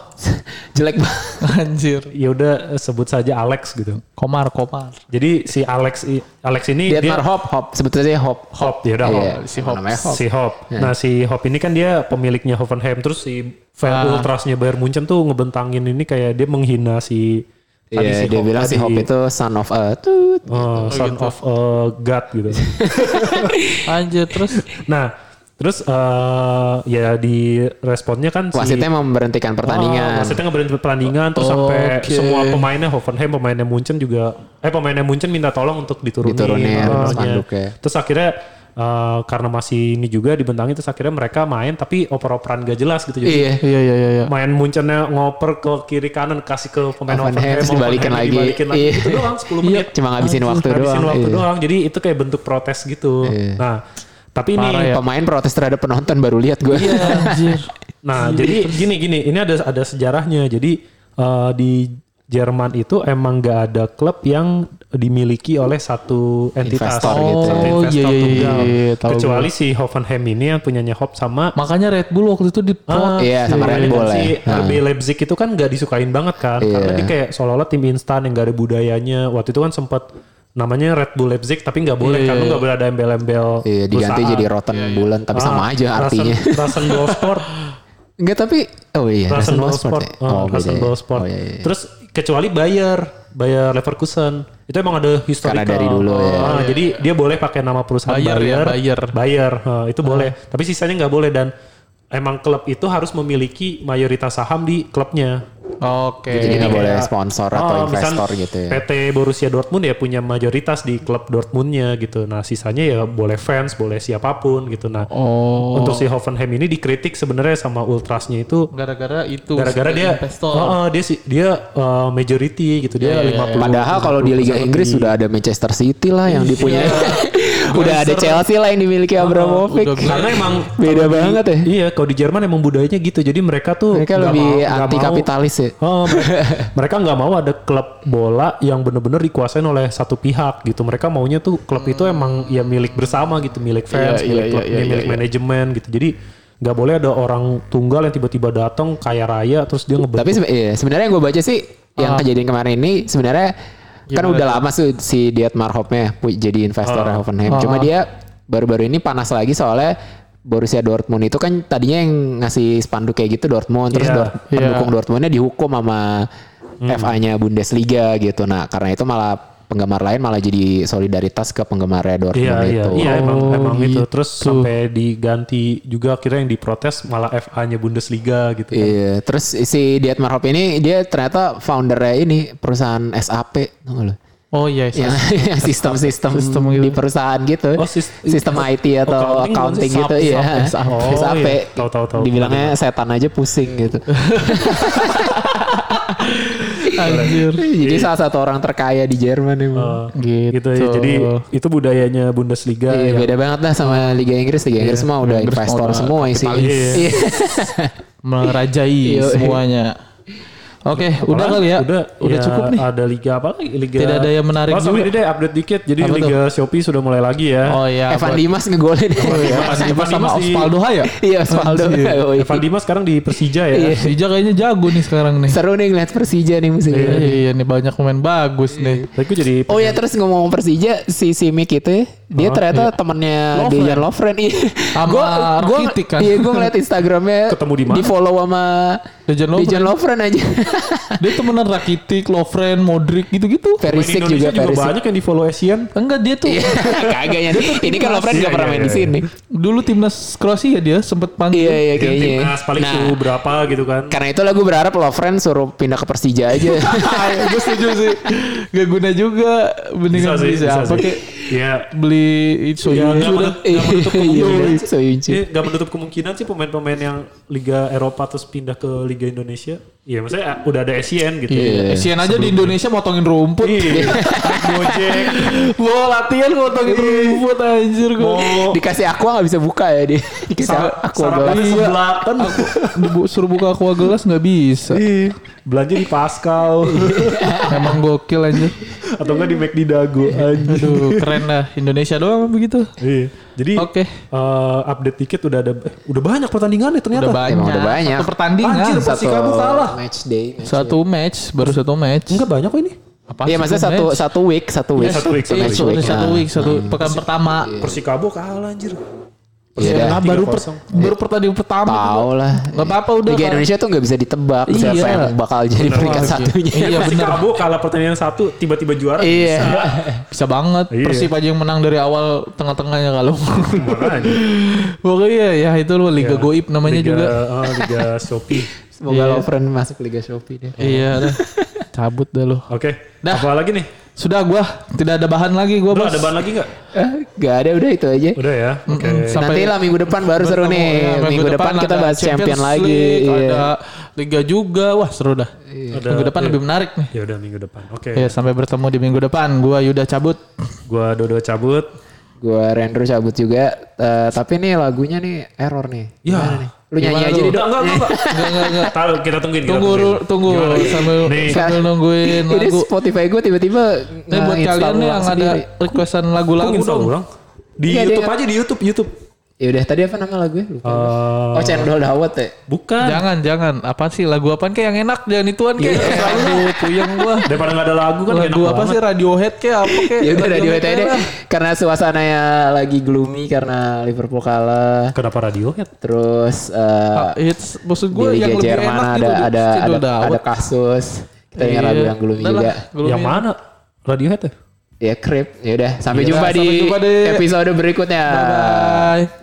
[SPEAKER 2] Jelek banget.
[SPEAKER 3] Anjir.
[SPEAKER 1] Ya udah sebut saja Alex gitu.
[SPEAKER 3] Komar, komar.
[SPEAKER 1] Jadi si Alex i- Alex ini
[SPEAKER 2] Dietmar
[SPEAKER 1] dia
[SPEAKER 2] Hop Hop sebetulnya Hop.
[SPEAKER 1] Hop, ya udah Iya. Hop.
[SPEAKER 2] Iya,
[SPEAKER 3] si Hop.
[SPEAKER 2] Namanya Hop. Ya.
[SPEAKER 1] Si Hop. Nah si Hop ini kan dia pemiliknya Hoffenheim. Terus si fan
[SPEAKER 2] Ah.
[SPEAKER 1] ultrasnya Bayern Munchen tuh ngebentangin ini kayak dia menghina si... tadi
[SPEAKER 2] Iya,
[SPEAKER 1] si
[SPEAKER 2] dia
[SPEAKER 1] Hop
[SPEAKER 2] bilang si
[SPEAKER 1] tadi.
[SPEAKER 2] Hop itu son of a tut.
[SPEAKER 1] Oh, son of a god gitu.
[SPEAKER 3] Anjir terus.
[SPEAKER 1] nah terus eh, ya di responnya kan si...
[SPEAKER 2] Wasitnya memberhentikan pertandingan.
[SPEAKER 1] Oh, Maksudnya ngeberhenti pertandingan terus sampai semua pemainnya Hoffenheim, pemainnya Munchen juga eh pemainnya Munchen minta tolong untuk diturunin.
[SPEAKER 2] Diturunin, ya.
[SPEAKER 1] orangnya.
[SPEAKER 2] spanduknya.
[SPEAKER 1] Terus akhirnya eh, karena masih ini juga dibentangin terus akhirnya mereka main tapi oper-operan gak jelas gitu jadi
[SPEAKER 2] Iya.
[SPEAKER 3] Iya, iya, iya. iya.
[SPEAKER 1] main Munchennya ngoper ke kiri kanan kasih ke pemain
[SPEAKER 2] Hoffenheim,
[SPEAKER 1] Hoffenheim
[SPEAKER 2] terus dibalikin
[SPEAKER 1] Hoffenheim
[SPEAKER 2] lagi.
[SPEAKER 1] dibalikin lagi
[SPEAKER 2] Iya.
[SPEAKER 1] itu doang 10 menit
[SPEAKER 2] Cuma ngabisin waktu
[SPEAKER 1] habisin
[SPEAKER 2] doang.
[SPEAKER 1] waktu
[SPEAKER 2] iya.
[SPEAKER 1] doang jadi itu kayak bentuk protes gitu nah tapi ini
[SPEAKER 2] Pemain protes terhadap penonton baru lihat gue.
[SPEAKER 1] Iya.
[SPEAKER 3] Anjir.
[SPEAKER 1] Nah, jadi gini gini, ini ada ada sejarahnya. Jadi eh, di Jerman itu emang nggak ada klub yang dimiliki oleh satu entitas,
[SPEAKER 2] Investor gitu.
[SPEAKER 1] satu
[SPEAKER 3] Oh, iya,
[SPEAKER 1] investor
[SPEAKER 3] iya,
[SPEAKER 1] tunggal.
[SPEAKER 3] iya, iya, tahu
[SPEAKER 1] Kecuali si Hoffenheim ini yang punyanya Hop sama
[SPEAKER 3] Makanya Red Bull waktu itu di
[SPEAKER 1] Ah, si-
[SPEAKER 2] Iya, sama Red Bull
[SPEAKER 1] si
[SPEAKER 2] ya.
[SPEAKER 1] RB Leipzig itu kan nggak disukain banget kan, karena
[SPEAKER 2] Iya.
[SPEAKER 1] dia kayak seolah-olah tim instan yang nggak ada budayanya. Waktu itu kan sempat namanya Red Bull Leipzig tapi nggak boleh kan lu nggak boleh ada embel-embel
[SPEAKER 2] Iya, diganti
[SPEAKER 1] perusahaan.
[SPEAKER 2] jadi rotten bulan tapi sama
[SPEAKER 1] Ah,
[SPEAKER 2] aja
[SPEAKER 1] Rasen-
[SPEAKER 2] artinya.
[SPEAKER 1] Rasen Ball Sport
[SPEAKER 2] Enggak tapi oh iya
[SPEAKER 1] Rasen Ball
[SPEAKER 2] Rasenball
[SPEAKER 1] Sport ah,
[SPEAKER 2] ya? Oh,
[SPEAKER 1] Rasen
[SPEAKER 2] beda ya.
[SPEAKER 1] Ball Sport
[SPEAKER 2] Oh, iya, iya.
[SPEAKER 1] terus kecuali Bayer Bayer Leverkusen itu emang ada historical
[SPEAKER 2] dari dulu ya.
[SPEAKER 1] Ah, jadi dia boleh pakai nama perusahaan
[SPEAKER 6] Bayer
[SPEAKER 1] Bayer
[SPEAKER 6] ya, Bayer.
[SPEAKER 1] Bayer, ah, itu boleh tapi sisanya nggak boleh dan emang klub itu harus memiliki mayoritas saham di klubnya
[SPEAKER 6] Oke.
[SPEAKER 2] Jadi nggak boleh
[SPEAKER 1] kayak-
[SPEAKER 2] sponsor atau
[SPEAKER 1] Iya, Oh, misal
[SPEAKER 2] investor gitu ya.
[SPEAKER 1] PT Borussia Dortmund ya punya mayoritas di klub Dortmundnya gitu. Nah sisanya ya boleh fans, boleh siapapun gitu. Nah
[SPEAKER 3] Oh.
[SPEAKER 1] untuk si Hoffenheim ini dikritik sebenarnya sama ultrasnya itu
[SPEAKER 6] Gara-gara itu.
[SPEAKER 1] gara-gara dia
[SPEAKER 6] investor.
[SPEAKER 1] Oh, oh, dia si- dia uh, majority gitu dia 50.
[SPEAKER 2] Padahal kalau di Liga
[SPEAKER 1] 50%
[SPEAKER 2] Inggris
[SPEAKER 1] lebih.
[SPEAKER 2] sudah ada Manchester City lah
[SPEAKER 1] Iya.
[SPEAKER 2] yang dipunyai. udah ada Chelsea lah yang dimiliki
[SPEAKER 1] Oh,
[SPEAKER 2] Abramovich.
[SPEAKER 1] karena emang
[SPEAKER 2] Beda
[SPEAKER 1] kalau di-
[SPEAKER 2] banget ya.
[SPEAKER 1] Iya, kalau di Jerman emang budayanya gitu. Jadi mereka tuh
[SPEAKER 2] Mereka
[SPEAKER 1] nggak
[SPEAKER 2] lebih
[SPEAKER 1] mau- nggak
[SPEAKER 2] anti
[SPEAKER 1] mau-
[SPEAKER 2] kapitalis ya.
[SPEAKER 1] Oh, mereka- mereka nggak mau ada klub bola yang bener-bener dikuasain oleh satu pihak gitu. Mereka maunya tuh klub itu emang ya milik bersama gitu, milik fans, milik klub, milik manajemen gitu. Jadi nggak boleh ada orang tunggal yang tiba-tiba datang kaya raya terus dia ngebentuk.
[SPEAKER 2] Tapi sebe- iya, sebenarnya yang gue baca sih
[SPEAKER 1] Ah.
[SPEAKER 2] yang kejadian kemarin ini sebenarnya kan udah lama sih si Dietmar Hoppnya pu- jadi investor
[SPEAKER 1] Ah.
[SPEAKER 2] Hoffenheim. Cuma dia baru-baru ini panas lagi soalnya Borussia Dortmund itu kan tadinya yang ngasih spanduk kayak gitu Dortmund
[SPEAKER 1] Iya,
[SPEAKER 2] terus
[SPEAKER 1] Hmm.
[SPEAKER 2] Dort- pendukung Dortmundnya dihukum sama FA-nya Bundesliga gitu. Nah karena itu malah penggemar lain malah jadi solidaritas ke penggemarnya
[SPEAKER 1] Iya iya
[SPEAKER 2] Dortmund itu.
[SPEAKER 1] iya emang emang itu terus sampai diganti juga akhirnya yang diprotes malah FA-nya Bundesliga gitu kan.
[SPEAKER 2] Iya, terus si Dietmar Hopp ini dia ternyata foundernya ini perusahaan SAP, tau nggak lu?
[SPEAKER 3] Oh iya,
[SPEAKER 2] yang yang sistem-sistem di perusahaan gitu.
[SPEAKER 1] Oh, sis-
[SPEAKER 2] sistem IT atau
[SPEAKER 1] accounting
[SPEAKER 2] accounting,
[SPEAKER 1] bukan
[SPEAKER 2] gitu
[SPEAKER 1] sih?
[SPEAKER 2] ya.
[SPEAKER 1] SAP. Oh,
[SPEAKER 2] SAP.
[SPEAKER 1] iya. Tahu, tahu, tahu.
[SPEAKER 2] Dibilangnya setan aja pusing gitu. Iya.
[SPEAKER 3] anjir.
[SPEAKER 1] Iya.
[SPEAKER 2] Jadi salah satu orang terkaya di Jerman emang.
[SPEAKER 3] Gitu.
[SPEAKER 1] Gitu ya. Jadi itu budayanya Bundesliga
[SPEAKER 2] Iya,
[SPEAKER 1] yang-
[SPEAKER 2] beda banget lah sama Liga Inggris. Liga Inggris mah udah
[SPEAKER 3] Inggris mah
[SPEAKER 2] investor
[SPEAKER 3] udah
[SPEAKER 2] semua sih.
[SPEAKER 1] Iya. kapitalis.
[SPEAKER 2] Iya.
[SPEAKER 3] Merajai
[SPEAKER 2] Iya, iya.
[SPEAKER 3] semuanya. Oke, udah
[SPEAKER 1] Apalagi?
[SPEAKER 3] kali ya.
[SPEAKER 1] Udah,
[SPEAKER 3] udah
[SPEAKER 1] ya,
[SPEAKER 3] cukup nih.
[SPEAKER 1] Ada liga apa lagi? Liga
[SPEAKER 3] Tidak ada yang menarik
[SPEAKER 1] oh, sama
[SPEAKER 3] juga.
[SPEAKER 1] ini deh update dikit. Jadi
[SPEAKER 3] Apa
[SPEAKER 1] liga Shopee sudah mulai lagi ya.
[SPEAKER 3] Oh
[SPEAKER 1] Oh, iya.
[SPEAKER 3] iya.
[SPEAKER 2] Evan
[SPEAKER 3] buat-
[SPEAKER 2] Dimas ngegolin.
[SPEAKER 1] Evan Dimas
[SPEAKER 3] sama
[SPEAKER 1] di-
[SPEAKER 3] Osvaldo Haya.
[SPEAKER 2] Iya, Osvaldo. Oh, iya.
[SPEAKER 1] Evan Dimas sekarang di Persija ya.
[SPEAKER 3] Persija kayaknya jago nih sekarang nih.
[SPEAKER 2] Seru nih ngeliat Persija nih musim
[SPEAKER 3] Iya,
[SPEAKER 2] ini.
[SPEAKER 3] iya nih banyak pemain bagus nih.
[SPEAKER 1] Tapi gue jadi
[SPEAKER 2] Oh ya terus ngomong Persija si Simic itu ya, dia ternyata temennya Dejan Lovren iya.
[SPEAKER 3] Oh, iya. Sama
[SPEAKER 2] Gua gua
[SPEAKER 3] Rakitic kan.
[SPEAKER 2] Iya gua ngeliat Instagramnya
[SPEAKER 1] Ketemu di mana?
[SPEAKER 2] Di follow sama
[SPEAKER 3] Dejan Lovren.
[SPEAKER 2] Dejan Lovren aja. Iya.
[SPEAKER 3] Dia temenan Rakitic, Lovren, Modric gitu-gitu.
[SPEAKER 2] Perisic juga,
[SPEAKER 1] Indonesia juga,
[SPEAKER 2] Perisic.
[SPEAKER 1] banyak yang di follow Asian.
[SPEAKER 3] Enggak dia tuh
[SPEAKER 2] Iya, Kagak ya. Ini kan Lovren
[SPEAKER 1] Iya,
[SPEAKER 2] gak pernah
[SPEAKER 1] iya,
[SPEAKER 2] main di
[SPEAKER 1] iya.
[SPEAKER 2] sini.
[SPEAKER 3] dulu timnas Kroasia dia sempet
[SPEAKER 2] Iya
[SPEAKER 3] panggil.
[SPEAKER 2] iya
[SPEAKER 1] Dia
[SPEAKER 2] kayaknya.
[SPEAKER 1] Timnas paling
[SPEAKER 2] Nah,
[SPEAKER 1] suhu berapa gitu kan.
[SPEAKER 2] karena itulah gue berharap Lovren suruh pindah ke Persija aja.
[SPEAKER 3] gue Ah, iya, setuju sih. Gak guna juga mendingan beli siapa kek.
[SPEAKER 1] Iya.
[SPEAKER 3] Beli itu
[SPEAKER 1] Ya,
[SPEAKER 3] ya,
[SPEAKER 1] nggak
[SPEAKER 3] sudah.
[SPEAKER 1] menutup- nggak menutup
[SPEAKER 2] Iya,
[SPEAKER 1] kemungkinan.
[SPEAKER 2] bener, Soyuncu.
[SPEAKER 1] Iya, nggak menutup kemungkinan sih pemain-pemain yang Liga Eropa terus pindah ke Liga Indonesia. Iya, maksudnya ah, udah ada Asian gitu.
[SPEAKER 2] Iya.
[SPEAKER 3] Kasihan aja di Indonesia motongin rumput.
[SPEAKER 1] Iya. Gojek.
[SPEAKER 3] Wah latihan motongin rumput anjir gue.
[SPEAKER 1] Mau
[SPEAKER 2] Dikasih aqua gak bisa buka ya dia. Dikasih
[SPEAKER 1] Sar-
[SPEAKER 2] aqua
[SPEAKER 1] sarapan
[SPEAKER 3] Iya.
[SPEAKER 2] banget.
[SPEAKER 1] sebelah kan
[SPEAKER 3] Bu- suruh buka aqua gelas nggak bisa.
[SPEAKER 2] Iya.
[SPEAKER 1] Iya. belanja di Pascal
[SPEAKER 3] Emang gokil anjir.
[SPEAKER 1] atau enggak di McD Dago anjir.
[SPEAKER 3] Aduh keren lah Indonesia doang begitu.
[SPEAKER 1] Iya. Jadi
[SPEAKER 3] Oke.
[SPEAKER 1] eh, update tiket udah ada eh, udah banyak pertandingannya ternyata.
[SPEAKER 3] Udah banyak.
[SPEAKER 2] Emang udah banyak.
[SPEAKER 3] Satu pertandingan.
[SPEAKER 1] Anjir, pasti kamu salah.
[SPEAKER 2] Match day. match
[SPEAKER 3] Satu match baru satu match.
[SPEAKER 1] Enggak banyak kok ini.
[SPEAKER 3] Apa?
[SPEAKER 2] Iya maksudnya satu
[SPEAKER 3] match?
[SPEAKER 2] satu week satu week
[SPEAKER 1] satu week, satu
[SPEAKER 2] Match
[SPEAKER 3] Satu,
[SPEAKER 2] week,
[SPEAKER 3] satu
[SPEAKER 2] nah.
[SPEAKER 3] week, Iya. satu pekan pertama.
[SPEAKER 1] Persikabo kalah anjir.
[SPEAKER 2] Iya dah.
[SPEAKER 3] Nah, baru per-
[SPEAKER 1] 3-0.
[SPEAKER 3] baru pertandingan pertama.
[SPEAKER 2] Tahu lah.
[SPEAKER 3] Gak apa-apa udah.
[SPEAKER 2] Liga
[SPEAKER 3] kan.
[SPEAKER 2] Indonesia tuh nggak bisa ditebak
[SPEAKER 3] Iya.
[SPEAKER 2] siapa yang bakal jadi peringkat satunya.
[SPEAKER 3] Iya benar.
[SPEAKER 1] Persikabo kalah pertandingan satu tiba-tiba juara.
[SPEAKER 2] Iya.
[SPEAKER 3] Bisa banget.
[SPEAKER 1] Iya.
[SPEAKER 3] Persib aja yang menang dari awal tengah-tengahnya kalau.
[SPEAKER 1] Makanya.
[SPEAKER 3] Pokoknya ya itu loh Liga
[SPEAKER 2] Iya.
[SPEAKER 3] Goib namanya
[SPEAKER 1] Liga,
[SPEAKER 3] juga.
[SPEAKER 1] eh, Liga Shopee.
[SPEAKER 2] Semoga
[SPEAKER 3] Iya.
[SPEAKER 2] Lovren masuk Liga Shopee deh.
[SPEAKER 3] Iya dah. Cabut dah lo.
[SPEAKER 1] Oke.
[SPEAKER 3] Dah.
[SPEAKER 1] Apa lagi nih?
[SPEAKER 3] Sudah gua tidak ada bahan lagi gua
[SPEAKER 1] Lu
[SPEAKER 3] bos.
[SPEAKER 1] ada bahan lagi nggak?
[SPEAKER 2] Eh, Gak ada udah itu aja.
[SPEAKER 1] Udah ya. Oke.
[SPEAKER 2] Nanti lah minggu depan baru seru
[SPEAKER 3] Ketemu, ya,
[SPEAKER 2] nih. minggu, depan, kita
[SPEAKER 3] ada
[SPEAKER 2] bahas champion
[SPEAKER 3] Champions
[SPEAKER 2] lagi.
[SPEAKER 3] League,
[SPEAKER 2] Iya.
[SPEAKER 3] Ada Liga juga. Wah, seru dah.
[SPEAKER 1] Ada-
[SPEAKER 3] minggu depan
[SPEAKER 1] iya.
[SPEAKER 3] lebih menarik nih.
[SPEAKER 1] Ya udah minggu depan.
[SPEAKER 2] Iya.
[SPEAKER 1] Oke.
[SPEAKER 3] Ya, sampai bertemu di minggu depan. Gua Yuda cabut.
[SPEAKER 1] Gua Dodo cabut.
[SPEAKER 2] Gue Rendro cabut juga. Eh, tapi nih lagunya nih error nih.
[SPEAKER 1] Iya.
[SPEAKER 2] Gimana nih? Lu nyanyi aja deh.
[SPEAKER 1] Enggak enggak enggak.
[SPEAKER 3] Ya. Enggak, enggak, enggak.
[SPEAKER 1] Taruh kita tungguin kita
[SPEAKER 3] Tunggu,
[SPEAKER 1] tungguin.
[SPEAKER 3] tunggu
[SPEAKER 1] Gimana nih?
[SPEAKER 3] sambil
[SPEAKER 1] Nih.
[SPEAKER 3] sambil nungguin
[SPEAKER 2] Ini Nah,
[SPEAKER 3] lagu.
[SPEAKER 2] Spotify gue tiba-tiba
[SPEAKER 3] Ini buat
[SPEAKER 2] nge-install
[SPEAKER 3] kalian nih
[SPEAKER 2] ulang
[SPEAKER 3] yang ada
[SPEAKER 2] sendiri.
[SPEAKER 3] requestan lagu-lagu
[SPEAKER 1] Lagu
[SPEAKER 3] dong.
[SPEAKER 1] ulang. Di
[SPEAKER 2] Iya,
[SPEAKER 1] YouTube
[SPEAKER 2] dia-
[SPEAKER 1] aja di YouTube, YouTube.
[SPEAKER 2] Ya udah tadi apa nama lagunya? Lupa.
[SPEAKER 1] Eh,
[SPEAKER 2] gua. oh Cendol Dawet ya.
[SPEAKER 1] Bukan.
[SPEAKER 3] Jangan, jangan. Apa sih lagu apaan kayak yang enak? Jangan ituan
[SPEAKER 2] Iya.
[SPEAKER 3] kayak. Selalu puyeng gua.
[SPEAKER 1] Daripada nggak ada lagu kan
[SPEAKER 3] Lagu apa sih Radiohead kayak apa kayak?
[SPEAKER 2] Ya udah radio itu deh. Karena suasananya lagi gloomy karena Liverpool kalah.
[SPEAKER 1] Kenapa Radiohead?
[SPEAKER 2] Terus eh,
[SPEAKER 3] Ah, Hits maksud
[SPEAKER 2] di
[SPEAKER 3] gua yang
[SPEAKER 2] Liga
[SPEAKER 3] lebih
[SPEAKER 2] Jerman
[SPEAKER 3] enak
[SPEAKER 2] ada
[SPEAKER 3] gitu.
[SPEAKER 2] ada
[SPEAKER 3] Cendol
[SPEAKER 2] ada, ada
[SPEAKER 3] Dawet.
[SPEAKER 2] kasus. Kita dengar lagu yang gloomy
[SPEAKER 3] Iya. Udah lah,
[SPEAKER 2] juga.
[SPEAKER 3] gloomy.
[SPEAKER 1] Yang mana? Radiohead ya?
[SPEAKER 2] Ya krip. Ya udah sampai jumpa
[SPEAKER 3] Iya, sampai
[SPEAKER 2] di
[SPEAKER 3] jumpa di-
[SPEAKER 2] episode berikutnya.
[SPEAKER 3] Bye.